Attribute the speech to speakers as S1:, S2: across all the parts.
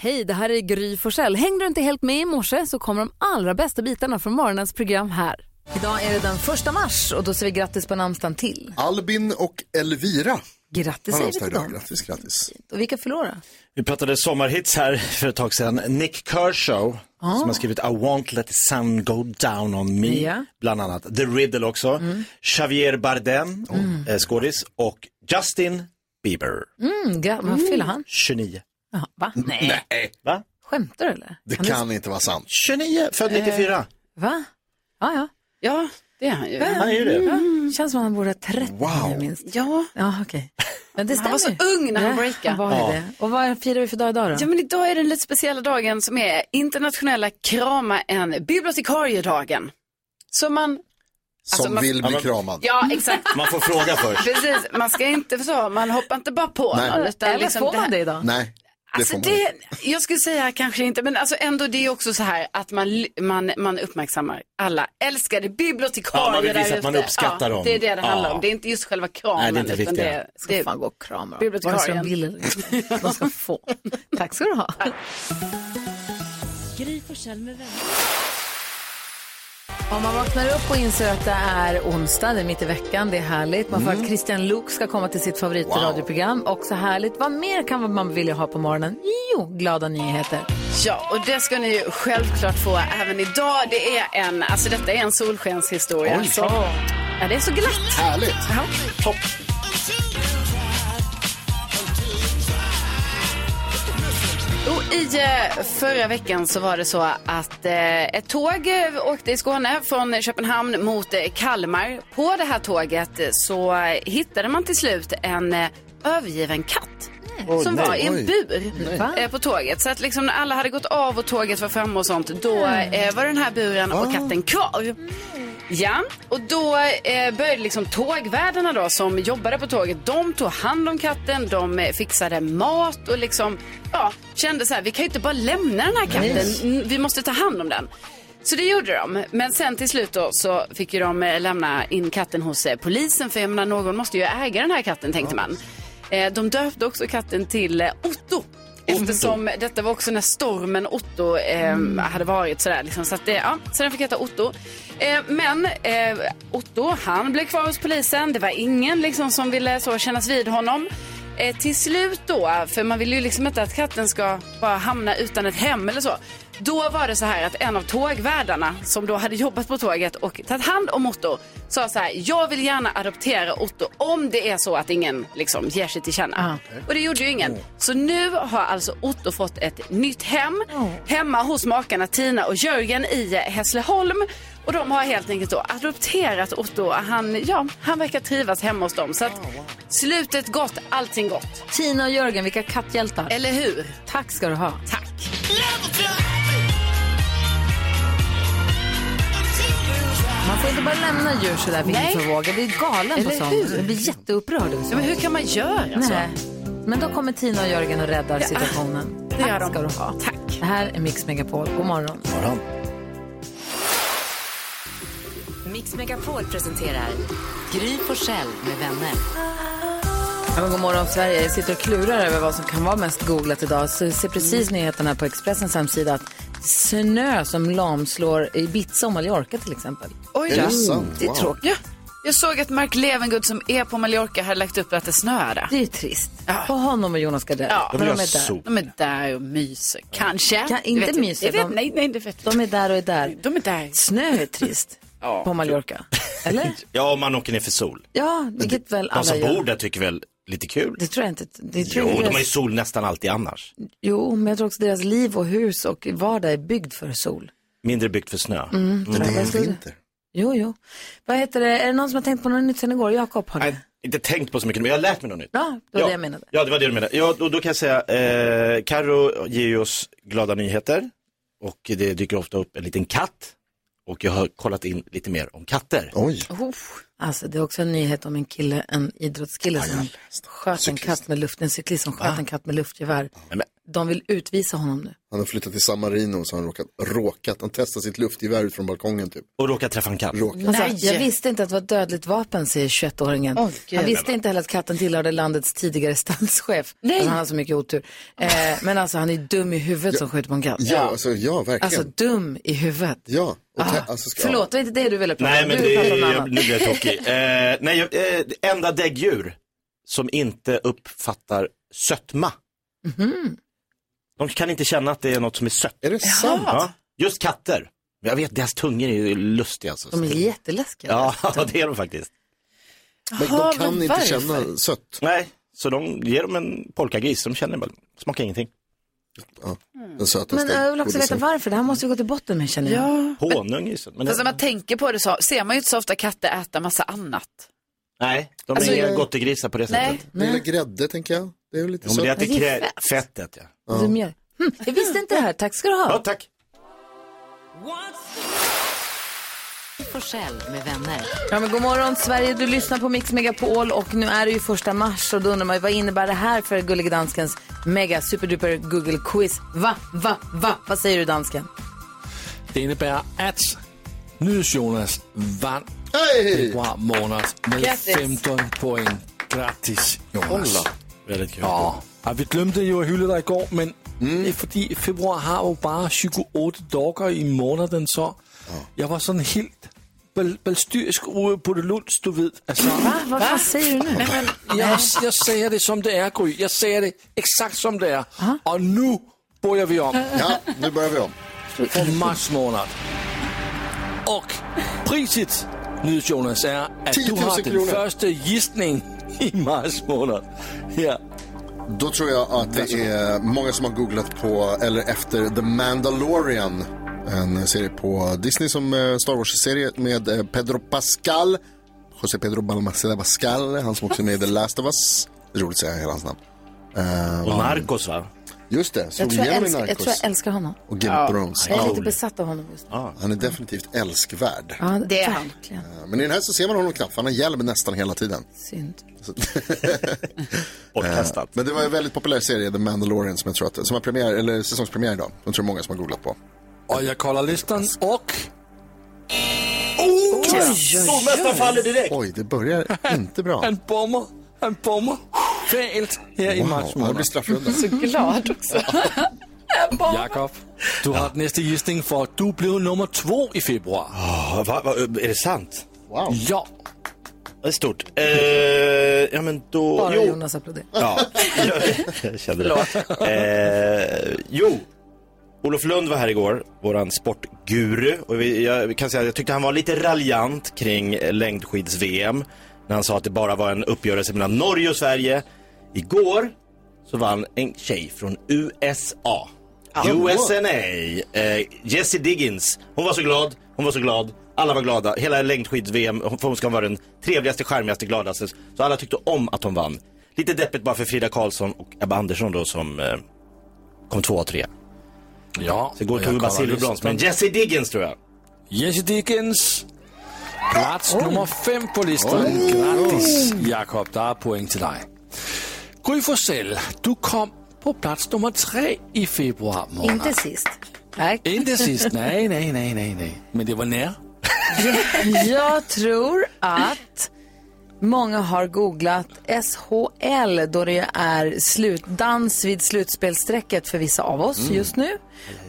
S1: Hej, det här är Gry Forssell. Hängde du inte helt med i morse så kommer de allra bästa bitarna från morgonens program här. Idag är det den första mars och då säger vi grattis på namnsdagen till.
S2: Albin och Elvira.
S1: Grattis
S2: Har
S1: säger vi
S2: namnsdag
S1: till
S2: idag.
S1: dem.
S2: Grattis, grattis.
S1: Och vilka förlorar?
S3: Vi pratade sommarhits här för ett tag sedan. Nick Kershaw,
S1: Ah.
S3: som har skrivit I won't let the sun go down on me,
S1: Ja. Mm.
S3: bland annat. The Riddle också. Javier Bardem, eh, skådis. Och Justin Bieber,
S1: Mm, gra- vad fyller han?
S3: 29.
S1: Jaha, va? Nej.
S2: Nej,
S3: Va? Eh.
S1: Skämtar du eller?
S2: det
S1: Han är-
S2: kan inte vara sant.
S3: 29, född 94.
S1: Va? Ja, ja.
S4: Ja, det är han ju.
S3: Han är ju det.
S1: Ja, Mm. Känns som att han borde ha 30
S2: Wow.
S1: minst.
S4: Ja,
S1: Ja, okej. Men det stämmer
S4: han var så
S1: ju.
S4: ung när han
S1: Ja,
S4: breakade.
S1: var ju det. Och Äh, vad firar vi för dag idag då?
S4: Ja, men idag är den lite speciella dagen som är internationella krama en bibliotekariedagen. Så man,
S2: Som
S4: Alltså, man-
S2: vill
S3: Ja,
S2: bli
S3: men-
S2: kramad.
S4: ja exakt,
S3: Man får fråga först.
S4: precis, man ska inte så, man hoppar inte bara på
S2: Nej.
S4: någon. Utan
S1: Eller
S4: liksom
S1: får
S4: här-
S1: man det idag?
S2: Nej, det
S4: Alltså
S2: får man inte.
S4: det, jag skulle säga kanske inte, men alltså ändå det är också så här att man, man, man uppmärksammar alla älskade bibliotekarier
S3: Ja, man vill
S4: där
S3: visa att man
S4: ute.
S3: uppskattar
S4: ja,
S3: dem.
S4: Det är det det handlar
S3: Ja.
S4: om, det är inte just själva kramen.
S3: Nej, det är inte det
S4: utan
S3: viktiga.
S1: Ska
S4: det, det,
S1: fan gå och krama dem.
S4: Bibliotekarien.
S1: Vare sig de vill eller inte. De ska få. Tack ska du ha.
S5: Gry Forssell med vänner.
S1: Om man vaknar upp och inser att det är onsdag, det är mitt i veckan, det är härligt. Man får
S4: Mm.
S1: att Christian Luuk ska komma till sitt favoritradioprogram. Också härligt. Vad mer kan man vilja ha på morgonen? Jo, glada nyheter.
S4: ja, och det ska ni ju självklart få även idag. Det är en, alltså detta är en solskenshistoria. Så, ja, det är så glatt.
S2: Härligt.
S3: Topp.
S4: Och i eh, förra veckan så var det så att eh, ett tåg eh, åkte i Skåne från Köpenhamn mot eh, Kalmar. På det här tåget eh, så eh, hittade man till slut en eh, övergiven katt. Som
S3: nej,
S4: var i
S2: oj.
S4: en bur eh, på tåget. Så att liksom när alla hade gått av och tåget var framme och sånt, då eh, var den här buren och katten kvar. Ja, och då eh, började liksom tågvärdarna då som jobbade på tåget, de tog hand om katten, de eh, fixade mat och liksom, ja, kände så här, vi kan ju inte bara lämna den här katten, Mm, vi måste ta hand om den. Så det gjorde de, men sen till slut då så fick ju de eh, lämna in katten hos eh, polisen, för jag menar, någon måste ju äga den här katten tänkte man. Eh, de döpte också katten till eh, Otto. Eftersom detta var också när stormen Otto eh, hade varit sådär. Liksom, så, att det, ja, så den fick heta Otto. Eh, men eh, Otto, han blev kvar hos polisen. Det var ingen liksom, som ville så kännas vid honom. Eh, till slut då, för man vill ju liksom inte att katten ska bara hamna utan ett hem eller så. Då var det så här att en av tågvärdarna som då hade jobbat på tåget och tagit hand om Otto sa så här, jag vill gärna adoptera Otto om det är så att ingen liksom ger sig till känna. Och det gjorde ju ingen. Så nu har alltså Otto fått ett nytt hem hemma hos makarna Tina och Jörgen i eh, Hässleholm. Och de har helt enkelt då adopterat Otto. Han, ja, han verkar trivas hemma hos dem. Så att slutet gott, allting gott.
S1: Tina och Jörgen, vilka katthjältar.
S4: Eller hur?
S1: Tack ska du ha.
S4: Tack.
S1: Man får inte bara lämna djur sådär vind
S4: Nej.
S1: för våg. Jag blir galen på
S4: Eller
S1: sånt.
S4: hur?
S1: Jag blir jätteupprörd.
S4: Ja, men hur kan man göra så?
S1: Nej. Men då kommer Tina och Jörgen och räddar situationen.
S4: det gör
S1: Tack
S4: de.
S1: ska du ha.
S4: Tack.
S1: Det här är Mix Megapol. God morgon.
S3: Morgon.
S6: Mix Megapol presenterar Gry Forssell med vänner.
S1: Ja, men god morgon Sverige. Jag sitter och klurar över vad som kan vara mest googlat idag. Så jag ser precis nyheterna på Expressens hemsida att snö som lamslår Ibiza och Mallorca till exempel.
S4: Oj
S2: Är
S4: då.
S2: det sant?
S1: Det är
S2: Wow.
S1: tråkigt.
S4: Ja. Jag såg att Mark Levengood som är på Mallorca hade lagt upp att det snöade.
S1: Det är ju trist. På honom och Jonas Gardell.
S4: Ja.
S3: Då
S1: Men
S3: vill
S1: de
S3: jag
S1: är
S3: ha
S1: där.
S3: sol.
S4: De är där och myser. Kanske.
S1: Kan-
S4: Det
S1: inte
S4: vet jag-
S1: myser,
S4: det vet,
S1: de-
S4: nej, nej, det vet jag.
S1: De är där och är där.
S4: De är där.
S1: Snö är trist på Mallorca. Eller?
S3: Ja, om man åker ner för sol.
S1: Ja, vilket väl
S3: De
S1: alla
S3: som bor
S1: gör.
S3: där tycker väl lite kul?
S1: Det tror jag inte. Det tror
S3: Jo,
S1: jag
S3: de
S1: deras...
S3: har ju sol nästan alltid annars.
S1: jo, men jag tror också deras liv och hus och vardag är byggd för sol.
S3: Mindre byggt för snö. Mm.
S2: Men det
S1: Vad
S2: är
S1: står Mm. det?
S2: vinter.
S1: Jo, jo. Vad heter det? Är det någon som har tänkt på något nytt sen igår? Jakob har det.
S3: Nej, inte tänkt på så mycket, men jag har lärt mig något nytt.
S1: Ja, det var det jag menade.
S3: Ja, det var det du menade. Ja, då, då kan jag säga, eh, Karo ger ju oss glada nyheter och det dyker ofta upp en liten katt och jag har kollat in lite mer om katter.
S2: Oj,
S1: Alltså det är också en nyhet om en kille, en idrottskille som sköt en katt med luft, en cyklist som sköt en katt med luftgevär.
S3: Nej, men,
S1: De vill utvisa honom nu.
S2: Han har flyttat till San Marino så har han råkat, råkat, han testar sitt luftgevär ut från balkongen typ.
S3: Och råkar träffa en katt.
S2: Råkat.
S1: Han sa, jag visste inte att det var ett dödligt vapen, säger 21-åringen.
S4: Åh, gud.
S1: han visste inte heller att katten tillhörde landets tidigare stallchef.
S4: Nej.
S1: Alltså, han har så mycket otur. Eh, men alltså, han är dum i huvudet som skjuter på en katt.
S2: Ja, alltså ja, verkligen.
S1: Alltså, dum i huvudet.
S2: ja. Och te-
S1: Ah,
S2: alltså, ska,
S1: förlåt, det var inte det du ville prata
S3: Nej,
S1: om.
S3: men
S1: du vill
S3: det,
S1: prata om något
S3: jag,
S1: annat.
S3: nu blir jag tokig. Eh, nej, jag- eh, det enda däggdjur som inte uppfattar sötma.
S1: Mhm.
S3: De kan inte känna att det är något som är sött.
S2: Ja. Är det sant?
S3: Ja, just katter. Jag vet, deras tungor är ju lustiga. Alltså.
S1: De är jätteläskiga.
S3: Ja, det är de faktiskt.
S2: Men
S4: Jaha,
S2: de kan
S4: men
S2: inte
S4: varför?
S2: känna sött.
S3: Nej, så de ger dem en polkagris. De känner bara, smakar ingenting.
S2: Ja. Den sötaste.
S1: Men jag vill också
S2: godisen.
S1: veta varför. Det här måste vi gå till botten med, känner jag.
S3: Honung är ju sött. Men
S4: Fast när man tänker på det så ser man ju inte så ofta katter äta massa annat.
S3: nej, de
S4: Alltså,
S3: är inga
S4: jag-
S3: gottegrisar på det
S4: Nej.
S3: sättet.
S2: Det är väl grädde tänker jag. Det är väl lite
S3: Jo, men det är att
S2: sött.
S1: Men
S3: det
S1: Alltså, det är
S3: krä... fettet. Ja.
S1: Du mjöl. Hm, jag visste inte det här. Tack ska du
S3: ja,
S1: ha.
S3: tack.
S6: Gry Forssell med vänner.
S1: Ja, men god morgon Sverige, du lyssnar på Mix Megapol och nu är det ju första mars och då undrar man ju, vad innebär det här för Gullige Danskens mega superduper Google quiz? Va, va, va? Vad säger du dansken?
S5: Det innebär att NyhetsJonas vann
S2: Hej!
S5: februari månad med
S1: Grattis.
S5: 15 poäng. Grattis Jonas!
S2: Kolla.
S3: Väldigt kul.
S5: Ja, ja, vi glömde ju att hylla dig igår, men det är för att februari har ju bara 28 dagar i månaden så jag var sån helt bal- balstyrisk ude på det lunds, du vet. Alltså,
S1: Va, vad fan säger du nu?
S5: jag, jag säger det som det är, Gry. Jag säger det exakt som det är. Och nu börjar vi om.
S2: Ah. Ja, nu börjar vi om.
S5: från mars månad. Och priset, nu Jonas, är att
S2: 10
S5: du
S2: 000
S5: har
S2: kronor.
S5: din första gissning i mars månad. Alltså. Här.
S2: Då tror jag att det är många som har googlat på eller efter The Mandalorian. En serie på Disney som eh, Star Wars-serie med eh, Pedro Pascal. José Pedro Balmaceda Pascal, han som också är med i The Last of Us. Det är roligt att säga hela hans namn. Eh,
S3: Och Narcos va?
S2: Just det,
S1: Jag
S2: slog
S1: tror jag,
S2: igenom i
S1: älskar, jag tror
S2: Narcos.
S1: jag älskar honom.
S2: Och Game of Thrones.
S1: Jag är lite besatt av honom just nu.
S2: Han är definitivt älskvärd.
S1: Ja,
S4: Det är han.
S1: verkligen.
S2: Men i den här så ser man honom knappt, för han har hjälm nästan hela tiden.
S1: Synd.
S3: Bortkastat.
S2: Eh, Men det var en väldigt populär serie, The Mandalorian, som jag tror att, som har premiär, eller säsongspremiär idag. Jag tror många som har googlat på.
S5: Och jag kollar listan och
S3: Stormästaren faller direkt.
S2: Oj, Uh, det börjar inte bra.
S5: han bommar, han bommar fält här i mars
S2: Wow, det blir
S5: månad.
S2: straffrunda.
S4: Glad också.
S5: Jakob, du har nästa gissning för att du blev nummer två i februari.
S3: Ja, va, va, är øh, det sant?
S2: Wow.
S5: Ja,
S3: Det är stort. Eh, ja, men då...
S1: Bara
S3: jo.
S1: Jonas applåderar.
S3: Ja, jag kände det. Eh, jo, Olof Lund var här igår, våran sportguru. Och vi, jag kan säga att jag tyckte han var lite raljant kring eh, längdskids-VM. När han sa att det bara var en uppgörelse mellan Norge och Sverige. Igår så vann en tjej från USA. USNA. Eh, Jessie Diggins. Hon var så glad, hon var så glad. Alla var glada. Hela längdskids-VM, hon- för hon ska vara den trevligaste, charmigaste, gladaste. Så alla tyckte om att hon vann. Lite deppigt bara för Frida Karlsson och Ebba Andersson då som eh, kom tvåa och trea.
S5: ja.
S3: Så igår
S5: och
S3: tog vi
S5: jag kollar
S3: bara silverbrons, men
S5: listan.
S3: Jessie Diggins tror jag.
S5: Jesse Dickens. Plats nummer fem på listan. Grattis Jakob, där är poäng till dig. Gry Forssell, du kom på plats nummer tre i februari månad.
S1: Inte sist. Nej.
S5: Inte sist,
S1: né?
S5: nej, nej, nej, nej, nej. Men det var nära.
S1: Jag tror att många har googlat SHL då det är slutdans vid slutspelsträcket för vissa av oss just nu.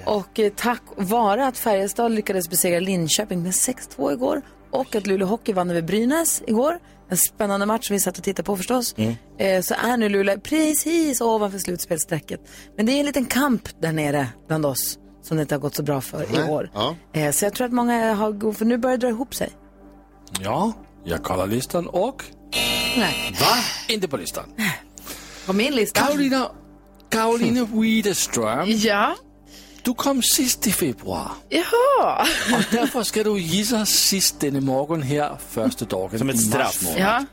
S1: Och eh, tack vare att Färjestad lyckades besegra Linköping med 6-2 igår och att Luleå Hockey vann över Brynäs igår, en spännande match som vi satt och tittade på förstås, eh, så är nu Luleå precis ovanför slutspelsträcket. Men det är en liten kamp där nere bland oss som det inte har gått så bra för i
S2: Nej,
S1: år.
S2: ja.
S1: Eh, Så jag tror att många har god, för nu börjar det dra ihop sig.
S5: Ja, jag kollar listan och
S1: Nej.
S5: inte på listan.
S1: På min lista. Hmm.
S5: Karolina, Karolina Widerström,
S4: Ja,
S5: du kom sist i februari.
S4: jaha.
S5: Och därför ska du gissa sist denna morgon här första dagen
S3: Som ett
S5: i mars
S3: straff.
S5: månad.
S4: Ja.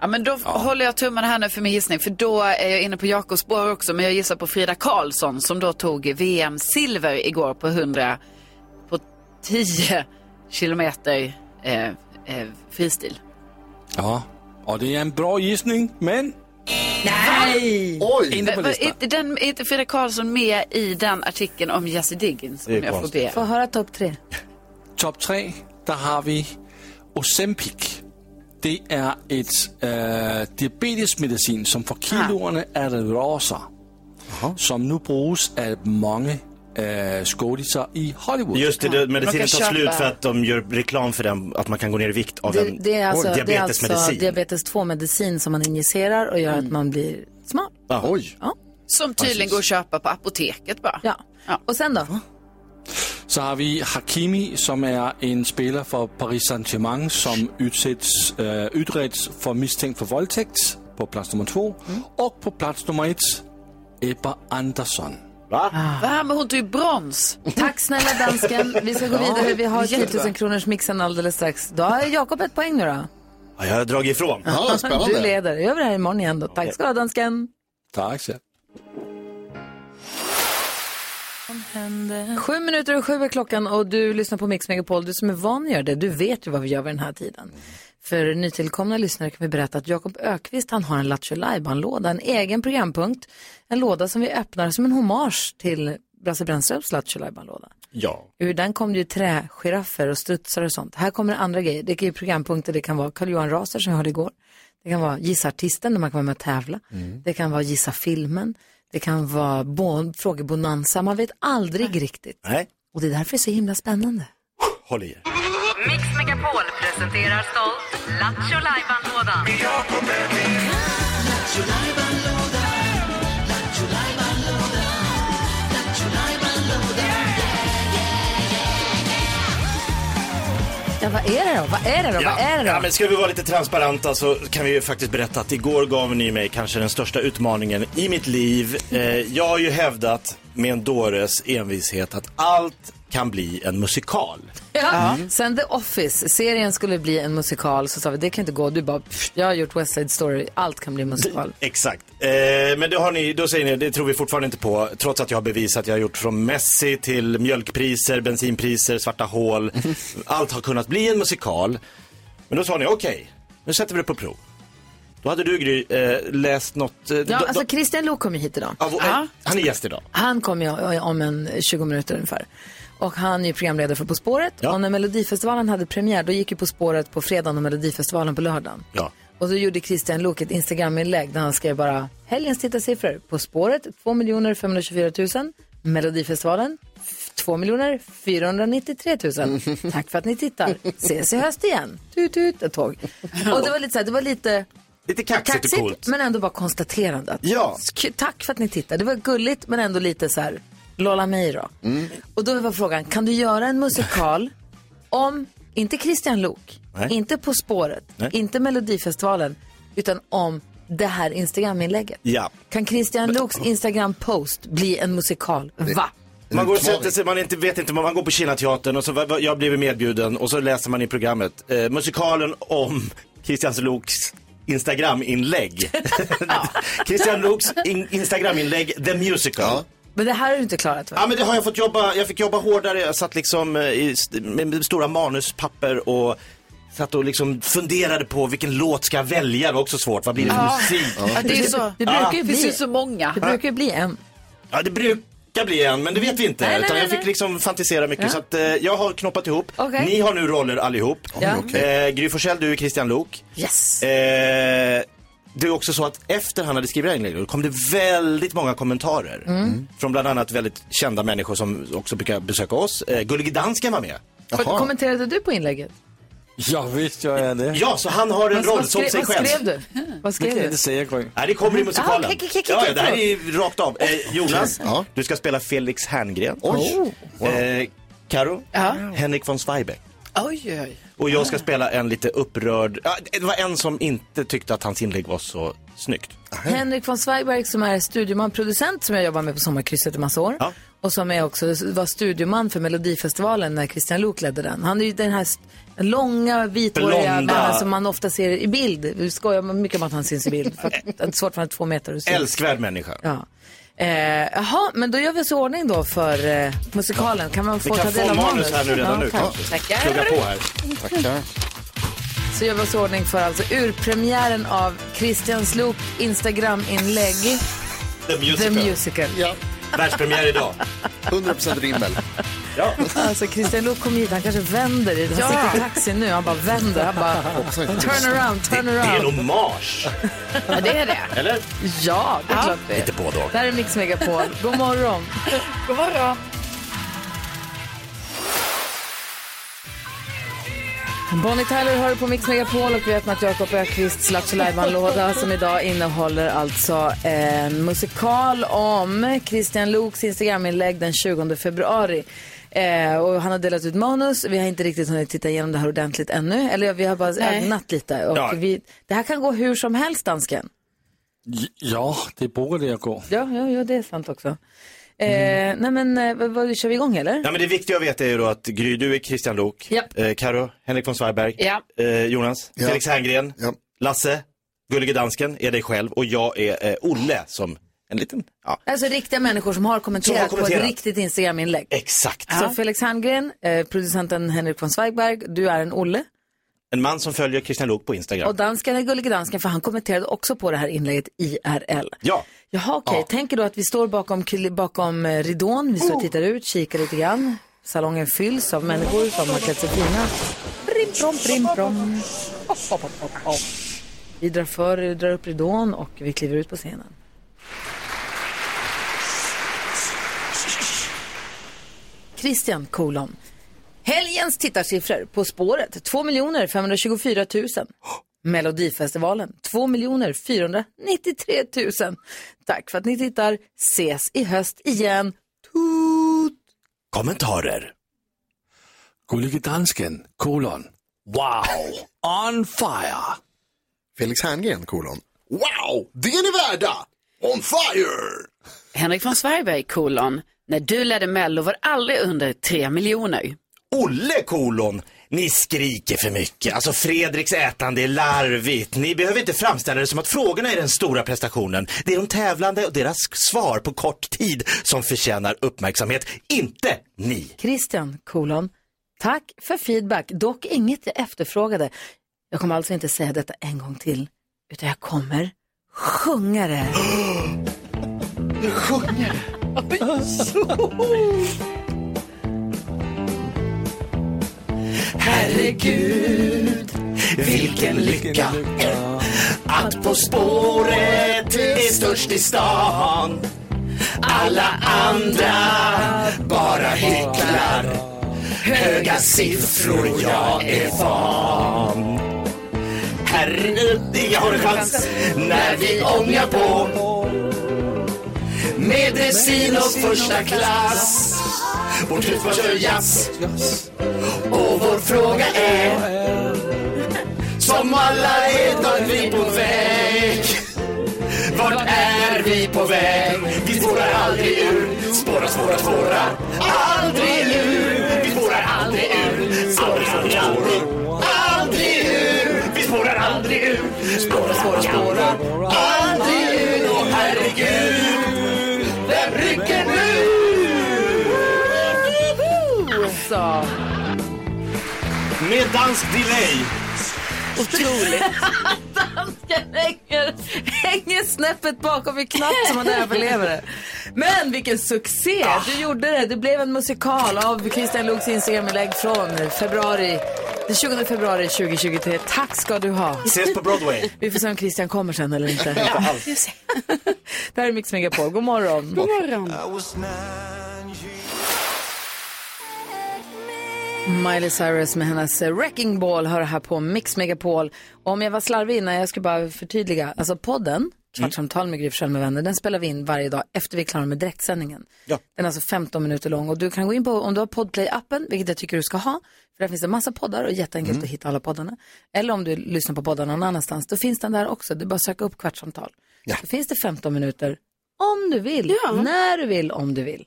S4: Ja, men då håller jag tummarna här nu för min gissning, för då är jag inne på Jakobs spår också, men jag gissar på Frida Karlsson som då tog VM-silver igår på 100, på 10 kilometer eh, eh, fristil.
S5: Ja, och det är en bra gissning, men
S4: Nej!
S1: Nej!
S2: Oj!
S5: Inte på
S4: Va- va-
S5: listan.
S4: Är den- är inte Frida Karlsson med i den artikeln om Jesse Diggins? Om
S3: Det är
S4: jag får
S3: konstigt.
S4: be.
S1: Få höra topp tre.
S5: Top 3, der har vi Ozempic. Det er et øh, diabetesmedicin, som for kiloerne er det råser, som nu bruges af mange øh, skådiser i Hollywood.
S3: Just det, det,
S1: Man
S3: medicinen
S1: kan
S3: tar slut
S1: köpa-
S3: för att de gör reklam för den, att man kan gå ner i vikt av
S1: Det,
S3: en
S1: det är alltså, det är
S3: diabetesmedicin.
S1: alltså diabetes 2-medicin som man injicerar och gör
S4: Mm.
S1: att man blir smal.
S2: Oj.
S1: Ja.
S4: Som tydligen går att köpa på apoteket bara.
S1: ja.
S4: Ja. Ah.
S1: Och sen då?
S5: Så har vi Hakimi, som er en spiller for Paris Saint-Germain, som udsættes, øh, ytrets for mistænkt for voldtægt på plads nummer 2. Og på plads nummer 1, Ebba Andersson.
S1: Ah.
S3: Va?
S4: Va? Men hon tog ju brons.
S1: Tack snälla dansken. Vi ska gå vidare. Vi har 10 000
S4: jättebra.
S1: kronors mixen alldeles strax. Då har Jakob ett poäng nu då.
S3: Ja, jag har dragit ifrån.
S2: Ja, spännande.
S1: Du leder. Jag gör det här imorgon igen då. Tack ska du ha dansken.
S5: Tak, ja.
S1: Sju minuter och sju är klockan och du lyssnar på Mix Megapol. Du som är van att göra det, du vet ju vad vi gör vid den här tiden. För nytillkomna lyssnare kan vi berätta att Jakob Ökvist han har en Lattjo Lajban-låda, en egen programpunkt. En låda som vi öppnar som en hommage till Brasse Brännströms Lattjo Lajban-låda.
S3: Ja.
S1: Ur den kom det ju trägiraffer och strutsar och sånt. Här kommer det andra grejer. Det kan ju programpunkter, det kan vara Carl-Johan Raser som jag hörde igår. Det kan vara Gissa artisten där man kan vara med och tävla. Det kan vara Gissa filmen. Det kan vara bon- frågebonanza. Man vet aldrig riktigt.
S3: Nej,
S1: Och det är därför det är så himla spännande.
S3: håll i er.
S6: Mix Megapol presenterar stolt Lattjo Lajban-lådan.
S1: Ja, vad är det då? Vad är det då? Vad är det
S3: ja,
S1: då?
S3: men ska vi vara lite transparenta så kan vi ju faktiskt berätta att igår gav ni mig kanske den största utmaningen i mitt liv. Eh, jag har ju hävdat med en dåres envishet att allt kan bli en musikal.
S1: Ja.
S3: Mm.
S1: Sen The Office, serien skulle bli en musikal, så sa vi det kan inte gå. Du bara, "Pff, jag har gjort West Side Story, allt kan bli musikal.
S3: Exakt. Eh, men det har ni, då säger ni, det tror vi fortfarande inte på, trots att jag har bevisat att jag har gjort från Messi till mjölkpriser, bensinpriser, svarta hål. Allt har kunnat bli en musikal. Men då sa ni, okej, nu sätter vi det på prov. Då hade du, Gry, eh, läst något... Eh,
S1: Ja,
S3: då-
S1: alltså
S3: då-
S1: Christian Lok kom ju hit idag.
S3: av- Han är gäst idag.
S1: Han kommer ju eh, om en 20 minuter ungefär. Och han är ju programledare för På spåret.
S3: Ja.
S1: Och när Melodifestivalen hade premiär, då gick ju På spåret på fredagen och Melodifestivalen på lördagen.
S3: Ja.
S1: Och då gjorde Christian Lok ett Instagram-inlägg där han skrev bara helgens tittarsiffror. På spåret 2 524 000. Melodifestivalen 2 493 000. Tack för att ni tittar. Ses i höst igen. Tut tut ett tåg. Och det var lite så här, det var lite
S3: Lite kaxigt och coolt.
S1: men ändå bara konstaterandet.
S3: Ja.
S1: Sk- Tack för att ni tittade. Det var gulligt men ändå lite så här, lolla mig då.
S2: Mm.
S1: Och då var frågan, kan du göra en musikal om, inte Christian Lok,
S3: Nej.
S1: inte På spåret,
S3: Nej.
S1: inte Melodifestivalen, utan om det här Instagram-inlägget.
S3: Ja.
S1: Kan Christian Loks Instagram-post bli en musikal? Va?
S3: Man går och
S2: Utmaning.
S3: sätter sig, man inte, vet inte, man går på Kinateatern och så va- va- jag blev medbjuden och så läser man i programmet eh, musikalen om Christian Loks Instagram-inlägg. Christian Loks in, Instagram-inlägg, The Musical. Ja.
S1: Men det här har du inte klarat va?
S3: men det har jag fått jobba, jag fick jobba hårdare, jag satt liksom eh, i, st- med, med stora manuspapper och satt och liksom funderade på vilken låt ska jag välja, det var också svårt, vad blir det för musik?
S4: Ja, det är ju så.
S1: Det brukar ju
S4: Det finns ju
S1: bli,
S4: så många.
S1: det brukar ju bli en.
S3: Ja, det brukar bli en, men det vet vi inte.
S1: Nej, nej,
S3: utan
S1: nej,
S3: jag fick
S1: nej.
S3: liksom fantisera mycket.
S1: Ja.
S3: Så att, eh, jag har knoppat ihop.
S1: Okej.
S3: Ni har nu roller allihop.
S1: Ja.
S3: Eh, Gry Forssell, du är Christian Lok.
S1: Yes.
S3: Eh, det är också så att efter han hade skrivit det här inlägget kom det väldigt många kommentarer.
S1: Mm.
S4: Mm.
S2: Mm.
S3: Mm. Från bland annat väldigt kända människor som också brukar besöka oss. Eh, Gullige Dansken var med.
S1: För- Kommenterade du på inlägget?
S5: Jeg vidste jo, jeg er det.
S3: Ja, så han har en
S1: Vad-
S3: roll
S1: vad
S3: som
S1: skrev-
S3: sig själv.
S1: Vad skrev du? Vad
S5: Det
S1: skrev
S5: kan
S1: du?
S5: jeg ikke sige, Grøn.
S3: Nej, det kommer i musikalen.
S1: Ah, okej, okej, okej,
S3: ja, ja, det här
S1: okej.
S3: är rakt av. Eh, Jonas,
S2: Ja.
S3: du ska spela Felix Herngren.
S2: Oj.
S3: Eh, Karo,
S4: Ja.
S3: Henrik von Zweigbergk.
S4: Oj, oj.
S3: Och jag ska spela en lite upprörd, ja, det var en som inte tyckte att hans inlägg var så snyggt.
S1: Henrik von Zweigbergk som är studioman, producent som jag jobbar med på Sommarkrysset i massa år.
S3: Ja.
S1: Och som är också var studioman för Melodifestivalen när Christian Lok ledde den. Han är ju den här st- långa vithåriga
S3: Blonda.
S1: mannen som man ofta ser i bild. Vi skojar mycket om att han syns i bild. För att, det är svårt för han är två meter och syns.
S3: Älskvärd människa.
S1: Ja. Eh, Jaha, men då gör vi så i ordning då för eh, musikalen. Kan man
S3: Vi
S1: få
S3: kan
S1: ta
S3: få
S1: del av
S3: manus här nu redan nu
S1: tack.
S3: kanske. Plugga på här.
S2: Tackar.
S1: så gör vi oss i ordning för alltså urpremiären av Christian Slok Instagram-inlägg
S3: The
S1: The
S3: Musical.
S1: Musical.
S2: Ja,
S3: Världspremiär idag.
S2: 100% rimmel.
S3: Ja.
S1: Alltså Christian Lok kom hit, han kanske vänder i det. Han sitter i taxin nu, han bara vänder. Han bara
S2: Hoppas jag inte.
S1: turn around, turn
S3: Det är en
S1: around.
S3: hommage.
S4: Ja, det är det.
S3: Eller?
S1: Ja, det är klart det
S3: Lite
S1: är.
S3: både och.
S1: Det här är Mix Megapol. God morgon.
S4: God morgon.
S1: Bonnie Tyler hör på Mix Megapol och vi har öppnat Jakob Ökvists Lattjo låda som idag innehåller alltså en musikal om Christian Loks Instagraminlägg den 20 februari. Eh, och han har delat ut manus, vi har inte riktigt hunnit titta igenom det här ordentligt ännu, eller vi har bara ögnat lite. Och
S3: Ja.
S1: vi, det här kan gå hur som helst, dansken.
S5: Ja, det borde det att gå.
S1: Ja, ja, ja det är sant också. Eh, Nej men, eh, vad, vad, kör vi igång eller?
S3: Ja, men det viktiga att veta är ju då att Gry, du är Christian Lok.
S1: Japp.
S3: Eh, Karo, Henrik von Zweigbergk.
S4: Ja.
S3: Eh, Jonas,
S2: Ja.
S3: Felix Herngren.
S2: Ja.
S3: Lasse, Gullige Dansken, är dig själv. Och jag är eh, Olle som en liten, ja,
S1: Alltså riktiga människor som har kommenterat,
S3: Som har
S1: på
S3: kommenterat.
S1: ett riktigt Instagraminlägg.
S3: exakt.
S1: Så Felix Herngren, eh, producenten Henrik von Zweigbergk, du är en Olle.
S3: En man som följer Christian Lok på Instagram.
S1: Och dansken är gullige dansken för han kommenterade också på det här inlägget IRL.
S3: Ja.
S1: Jaha, okej. Tänker då att vi står bakom, kli- bakom eh, ridån, vi står och tittar ut, kikar lite grann. Salongen fylls av människor som har klätt sig fina. Brim, brom, brim, brom. Vi drar för, vi drar upp ridån och vi kliver ut på scenen. Christian Kolon. Helgens tittarsiffror På spåret 2 524 000. Melodifestivalen 2 493 000. Tack för att ni tittar. Ses i höst igen. Tut!
S3: Kommentarer.
S5: Gullige dansken, kolon. Wow! On fire!
S2: Felix Herngren, kolon. Wow, det är ni värda! On fire!
S4: Henrik von Zweigbergk, kolon. När du ledde Mello var det aldrig under tre miljoner.
S3: Olle kolon, ni skriker för mycket. Alltså Fredriks ätande är larvigt. Ni behöver inte framställa det som att frågorna är den stora prestationen. Det är de tävlande och deras svar på kort tid som förtjänar uppmärksamhet. Inte ni.
S1: Christian, kolon. Tack för feedback, dock inget jag efterfrågade. Jag kommer alltså inte säga detta en gång till, utan jag kommer sjunga det.
S3: Herregud, vilken lycka att På spåret är störst i stan Alla andra bara hycklar Höga siffror, jag är fan Herregud, jag har en chans när vi ångar på Med Dresinos första klass Vårt husman kör jazz och vår fråga är Som alla vet att vi på väg Vart är vi på väg? Vi spårar aldrig ur Spåra, spåra, spåra Aldrig ur Vi spårar aldrig ur Spåra, spåra, spåra Aldrig ur Vi spårar aldrig ur Spåra, spåra, spåra Aldrig ur Åh herregud Vem rycker nu?
S1: Så.
S3: Med dansk delay.
S1: Dansken hänger, hänger snäppet bakom i knapp som han överlever det. Men vilken succé!
S3: Ah.
S1: Du gjorde det. Det blev en musikal av Christian Luuks Instagraminlägg från februari, den 20 februari 2023. Tack ska du ha.
S3: Ses på Broadway.
S1: Vi får se om Christian kommer sen eller inte. Det här är Mix Megapol. God morgon.
S4: God morgon.
S1: Miley Cyrus med hennes eh, Wrecking Ball hör här på Mix Megapol. Om jag var slarvig innan, jag ska bara förtydliga. Alltså podden, Kvartsamtal med Gry Forssell med vänner, den spelar vi in varje dag efter vi är klara med direktsändningen.
S3: Ja.
S1: Den är alltså 15 minuter lång och du kan gå in på, om du har Podplay-appen, vilket jag tycker du ska ha, för där finns det massa poddar och jätteenkelt att hitta alla poddarna. Eller om du lyssnar på poddarna någon annanstans, då finns den där också. Det är bara att söka upp Kvartsamtal. Då finns det 15 minuter, om du vill, när du vill, om du vill.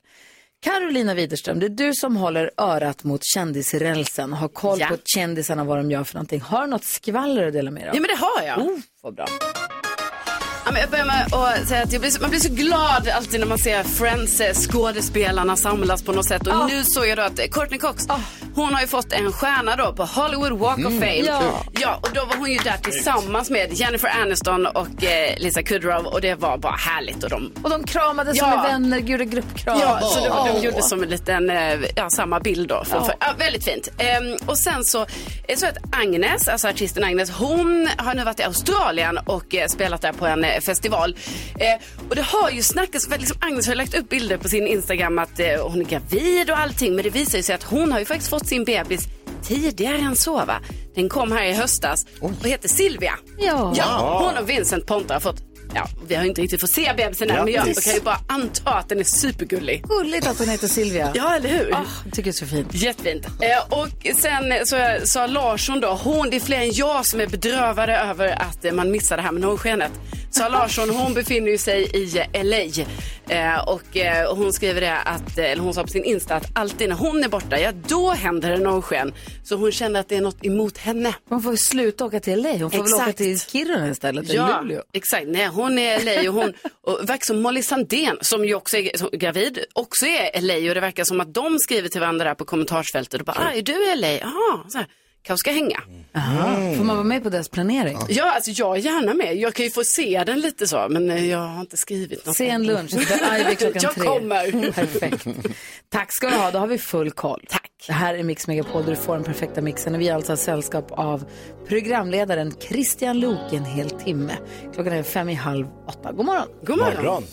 S1: Carolina Widerström, det är du som håller örat mot kändisrälsen, har koll
S4: Ja.
S1: på kändisarna, vad de gör för någonting. Har du något skvaller att dela med dig av?
S4: Ja, men det har jag.
S1: Oh, vad bra.
S4: Ja, men jag börjar med att säga att jag blir så, man blir så glad alltid när man ser Friends eh, skådespelarna samlas på något sätt. Och nu såg jag då att eh, Courtney Cox, Hon har ju fått en stjärna då på Hollywood Walk of Fame.
S7: Ja.
S4: Ja, och då var hon ju där tillsammans med Jennifer Aniston och eh, Lisa Kudrow och det var bara härligt. Och de,
S1: Och de kramades
S4: Ja.
S1: som är vänner, gjorde gruppkram.
S4: ja, så det var,
S1: Åh.
S4: de gjorde som en liten, eh, ja, samma bild då. För,
S1: Ja.
S4: för, ja, väldigt fint. Ehm, och sen så, eh, så att Agnes, alltså artisten Agnes, hon har nu varit i Australien och eh, spelat där på en eh, festival. Eh, och det har ju snackats, för liksom Agnes har lagt upp bilder på sin Instagram att eh, hon är gravid och allting, men det visar ju sig att hon har ju faktiskt fått sin bebis tidigare än så va. Den kom här i höstas och heter Silvia.
S7: Ja.
S4: Ja, hon och Vincent Ponta har fått Ja, vi har ju inte riktigt fått se bebisen än, men jag
S3: Grattis.
S4: kan ju bara anta att den är supergullig.
S1: Gulligt att hon heter Silvia.
S4: Ja, eller hur?
S1: Ah, jag tycker det är så fint.
S4: Jättefint. Eh, och sen så sa Larsson då, hon, det är fler än jag som är bedrövade över att eh, man missar det här med norrskenet. Sa Larsson, hon befinner ju sig i eh, LA. Eh, och eh, hon skriver det att, eh, eller hon sa på sin Insta att alltid när hon är borta, ja då händer det norrsken. Så hon känner att det är något emot henne.
S1: Man får ju sluta åka till LA. Hon får väl
S4: Exakt.
S1: åka till Kiruna istället, eller Luleå.
S4: exakt. Nej, hon är LA och hon och verkar som Molly Sandén som ju också är som, gravid, också är LA och det verkar som att de skriver till varandra där på kommentarsfältet och bara, ah, är du LA? Ja, Ah, så här, kanske ska hänga.
S1: Mm. Aha. Får man vara med på deras planering?
S4: Ja, alltså jag är gärna med. Jag kan ju få se den lite så, men eh, jag har inte skrivit något.
S1: Sen lunch, där Ivy klockan
S4: Jag
S1: tre.
S4: kommer.
S1: Perfekt. Tack ska du ha, då har vi full koll. Tack. Det här är Mix Megapol där du får den perfekta mixen och vi har alltså sällskap av programledaren Christian Lok i en hel timme. Klockan är fem i halv åtta. God morgon.
S4: God morgon.
S3: Morgon.